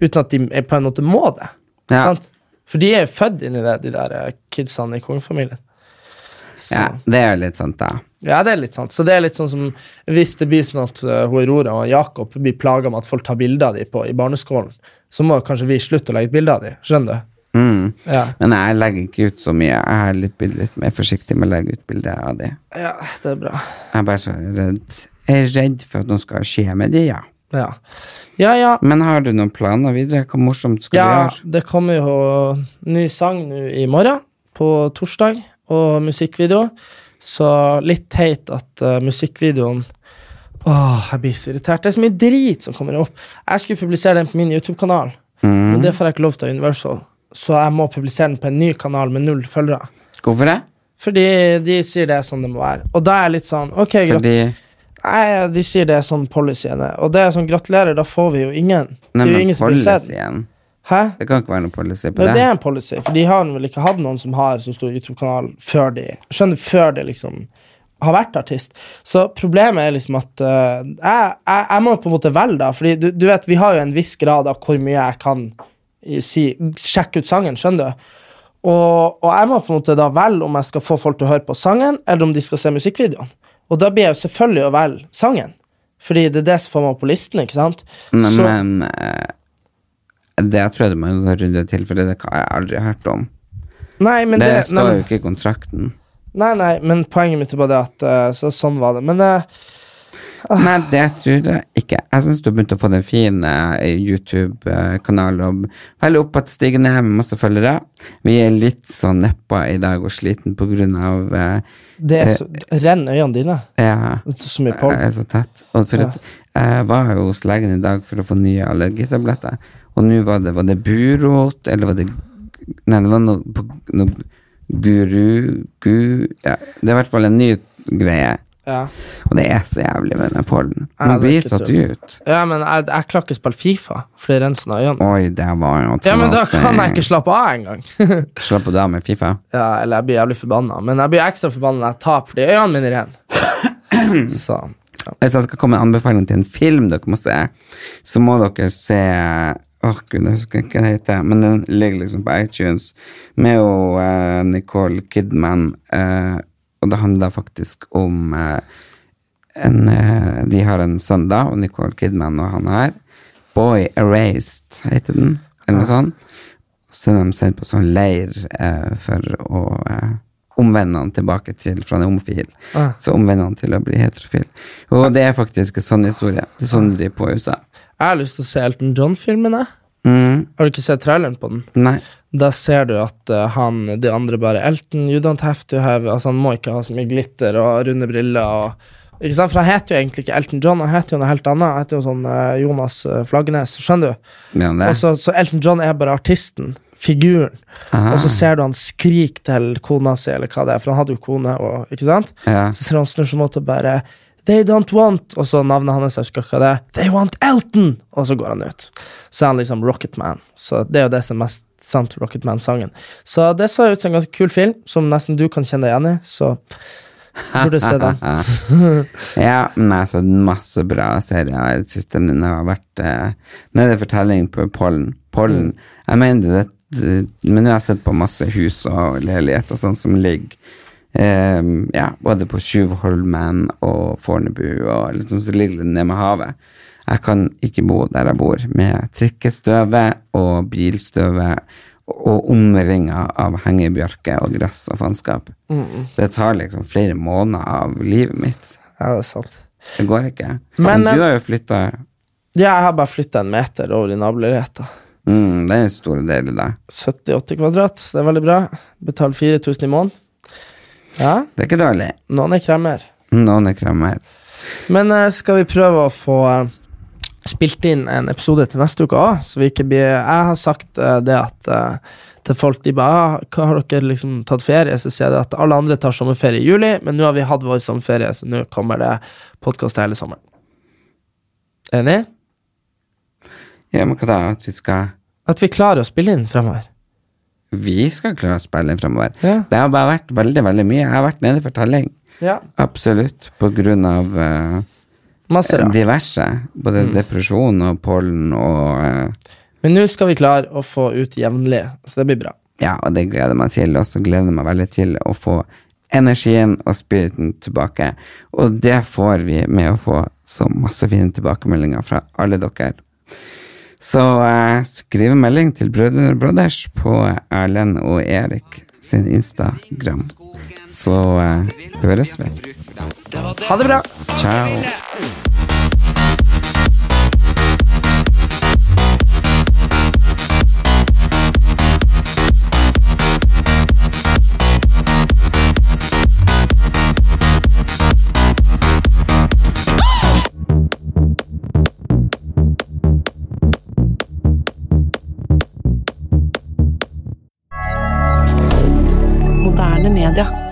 Speaker 2: uten at de er på en måte må det.
Speaker 1: Ja.
Speaker 2: Sant? For de er født inn i det, de der eh, kidsene i kongefamilien. Så,
Speaker 1: Ja,
Speaker 2: ja.
Speaker 1: det er jo litt sant, da.
Speaker 2: det er litt sant. Så det er litt sånn som hvis det blir sånn at eh, hun Aurora og Jakob blir plaga med at folk tar bilder av dem på, i barneskolen, så må kanskje vi slutte å legge ut bilder av dem. Skjønner du?
Speaker 1: Mm.
Speaker 2: Ja.
Speaker 1: Men jeg legger ikke ut så mye. Jeg er litt, bild- litt mer forsiktig med å legge ut bilder av de.
Speaker 2: ja, det er bra.
Speaker 1: Jeg er bare så redd. Jeg er redd for at noe skal skje med de, ja.
Speaker 2: Ja, ja. ja.
Speaker 1: Men har du noen planer videre? Hva morsomt skal
Speaker 2: Ja,
Speaker 1: du gjøre?
Speaker 2: det kommer jo ny sang nå i morgen, på torsdag, og musikkvideo. Så litt teit at eh, musikkvideoen Åh, jeg blir så irritert. Det er så mye drit som kommer opp. Jeg skulle publisere den på min YouTube-kanal,
Speaker 1: Mm.
Speaker 2: men det får jeg ikke lov til av Universal. Så jeg må publisere den på en ny kanal med null følgere.
Speaker 1: Hvorfor det?
Speaker 2: Fordi de sier det er sånn det må være. Og da er jeg litt sånn Ok, grat
Speaker 1: Fordi
Speaker 2: Nei, de sier det er sånn policyen er. Og det er sånn, gratulerer, da får vi jo ingen.
Speaker 1: Nei,
Speaker 2: det er jo
Speaker 1: men
Speaker 2: ingen som vil se den.
Speaker 1: policyen
Speaker 2: Hæ?
Speaker 1: Det kan ikke være noen policy på
Speaker 2: Men det
Speaker 1: det.
Speaker 2: er en policy, for de har vel ikke hatt noen som har så stor YouTube-kanal før de Skjønner, før de liksom har vært artist. Så problemet er liksom at øh, jeg, jeg, jeg må på en måte velge, da. Fordi du, du vet, vi har jo en viss grad av hvor mye jeg kan i- si Sjekke ut sangen, skjønner du? Og, og jeg må på en måte da velge om jeg skal få folk til å høre på sangen, eller om de skal se musikkvideoen. Og da blir jeg jo selvfølgelig å velge sangen, fordi det er det som får meg opp på listen, ikke sant?
Speaker 1: Nei,
Speaker 2: Så-
Speaker 1: men eh, det tror jeg du må gå en runde til, for det har jeg aldri hørt om.
Speaker 2: nei, men
Speaker 1: det,
Speaker 2: det, nei,
Speaker 1: står
Speaker 2: men-
Speaker 1: jo ikke i kontrakten.
Speaker 2: Nei, nei, men poenget mitt er bare det at eh, så, Sånn var det. Men eh, Ah.
Speaker 1: Nei, det tror jeg ikke. Jeg syns du begynte å få den fine eh, YouTube-kanalen og veldig oppadstigende med masse følgere. Vi er litt sånn neppa i dag og sliten på grunn av eh, Eh.
Speaker 2: det er så, renn øynene dine.
Speaker 1: ja,
Speaker 2: Det er så mye
Speaker 1: Jeg
Speaker 2: pollen.
Speaker 1: er så tett. Og for at, jeg var jo hos legen i dag for å få nye allergitabletter, og nå var det, var det burot, eller var det Nei, det var noe, på- noe guru gu, ja, Det er i hvert fall en ny greie,
Speaker 2: Ja.
Speaker 1: og det er så jævlig med den pollen.
Speaker 2: Ja,
Speaker 1: Man
Speaker 2: det er
Speaker 1: blir
Speaker 2: ikke
Speaker 1: satt
Speaker 2: tull.
Speaker 1: ut.
Speaker 2: ja, men jeg, jeg klarer ikke å spille Fifa, for det renser ned øynene.
Speaker 1: Oi, der var jo eh,
Speaker 2: Ja, men da kan jeg ikke slappe av engang. (laughs)
Speaker 1: Slapp av med Fifa.
Speaker 2: ja, eller jeg blir jævlig forbanna. Men jeg blir ekstra forbanna når jeg taper fordi øynene mine er rene. Så
Speaker 1: liksom. Hvis jeg skal komme med en anbefaling til en film dere må se, så må dere se Åh, gud, jeg husker ikke hva den heter, men den ligger liksom på iTunes med jo eh, Nicole Kidman, eh, og det handler faktisk om eh, en, eh, De har en sønn, da, og Nicole Kidman og han her. Boy Erased heter den, eller noe sånt. Så er de sendt på sånn leir eh, for å eh, omvende han tilbake til fra han er homofil.
Speaker 2: Ah.
Speaker 1: Så omvende han til å bli heterofil. Og det er faktisk en sånn historie. Det er sånn de på i USA.
Speaker 2: jeg har lyst til å se Elton John-filmen. jeg.
Speaker 1: Mm,
Speaker 2: Har du ikke sett traileren på den?
Speaker 1: nei.
Speaker 2: Da ser du at eh, han, de andre bare Elton, you don't have to have Altså Han må ikke ha så mye glitter og runde briller og Ikke sant? For han heter jo egentlig ikke Elton John, han heter jo noe helt annet. Han heter jo sånn eh, Jonas eh, Flaggernes, skjønner du?
Speaker 1: Men det,
Speaker 2: Og så- så Elton John er bare artisten, figuren.
Speaker 1: Aha.
Speaker 2: Og så ser du han skriker til kona si, eller hva det er, for han hadde jo kone og Ikke sant?
Speaker 1: ja.
Speaker 2: Så ser du han snur seg mot og bare They don't want Og så navnet hans, jeg husker ikke hva det er. They want Elton! Og så går han ut. Så er han liksom Rocketman. Så det er jo det som er mest sant Rocketman-sangen. Så det så ut som en ganske kul film, som nesten du kan kjenne deg igjen i. Så burde du se
Speaker 1: (laughs)
Speaker 2: den.
Speaker 1: ja, men jeg har sett masse bra serier i det siste. Den har vært eh, nede fortelling på pollen. Pollen.
Speaker 2: Mm.
Speaker 1: Jeg mener det, det eh, Men nå har jeg sett på masse hus og leiligheter og sånn som ligger eh, ja, både på Tjuvholmen og Fornebu og liksom så ligger det nede med havet. Jeg kan ikke bo der jeg bor, med trikkestøvet og bilstøvet og omringa av hengebjørke og gress og faenskap. Det tar liksom flere måneder av livet mitt.
Speaker 2: Ja, det er sant.
Speaker 1: Det går ikke.
Speaker 2: Men-
Speaker 1: Men, du har jo flytta.
Speaker 2: Ja, jeg har bare flytta en meter over i naboleiligheta.
Speaker 1: Mm, det er en stor del i deg.
Speaker 2: 70-80 kvadrat, så det er veldig bra. Betaler 4000 i måneden. Ja,
Speaker 1: Det er ikke dårlig.
Speaker 2: noen er kremmer.
Speaker 1: Noen er krammer.
Speaker 2: Men eh, skal vi prøve å få eh, spilt inn en episode til neste uke òg? Så vi ikke blir Jeg har sagt eh, det at eh, til folk de bare ah, hva 'Har dere liksom tatt ferie?' Så sier jeg det at alle andre tar sommerferie i juli, men nå har vi hatt vår sommerferie, så nå kommer det podkast hele sommeren. Enig?
Speaker 1: Ja, men hva da? At vi skal
Speaker 2: At vi klarer å spille inn fremover.
Speaker 1: Vi skal klare å spille fremover.
Speaker 2: Ja.
Speaker 1: Det har bare vært veldig, veldig mye. Jeg har vært nede for telling.
Speaker 2: Ja.
Speaker 1: Absolutt. På grunn av eh,
Speaker 2: Masse rart.
Speaker 1: diverse. Både depresjon og pollen og eh,
Speaker 2: Men nå skal vi klare å få ut jevnlig, så det blir bra.
Speaker 1: Ja, og det gleder jeg meg til. Og så gleder jeg meg veldig til å få energien og spiriten tilbake. Og det får vi med å få så masse fine tilbakemeldinger fra alle dere. Så eh, skriv en melding til Brødrene Brothers på Erlend og Erik sin Instagram. Så eh, høres vi.
Speaker 2: Ha det bra!
Speaker 1: Ciao.
Speaker 3: Moderne media.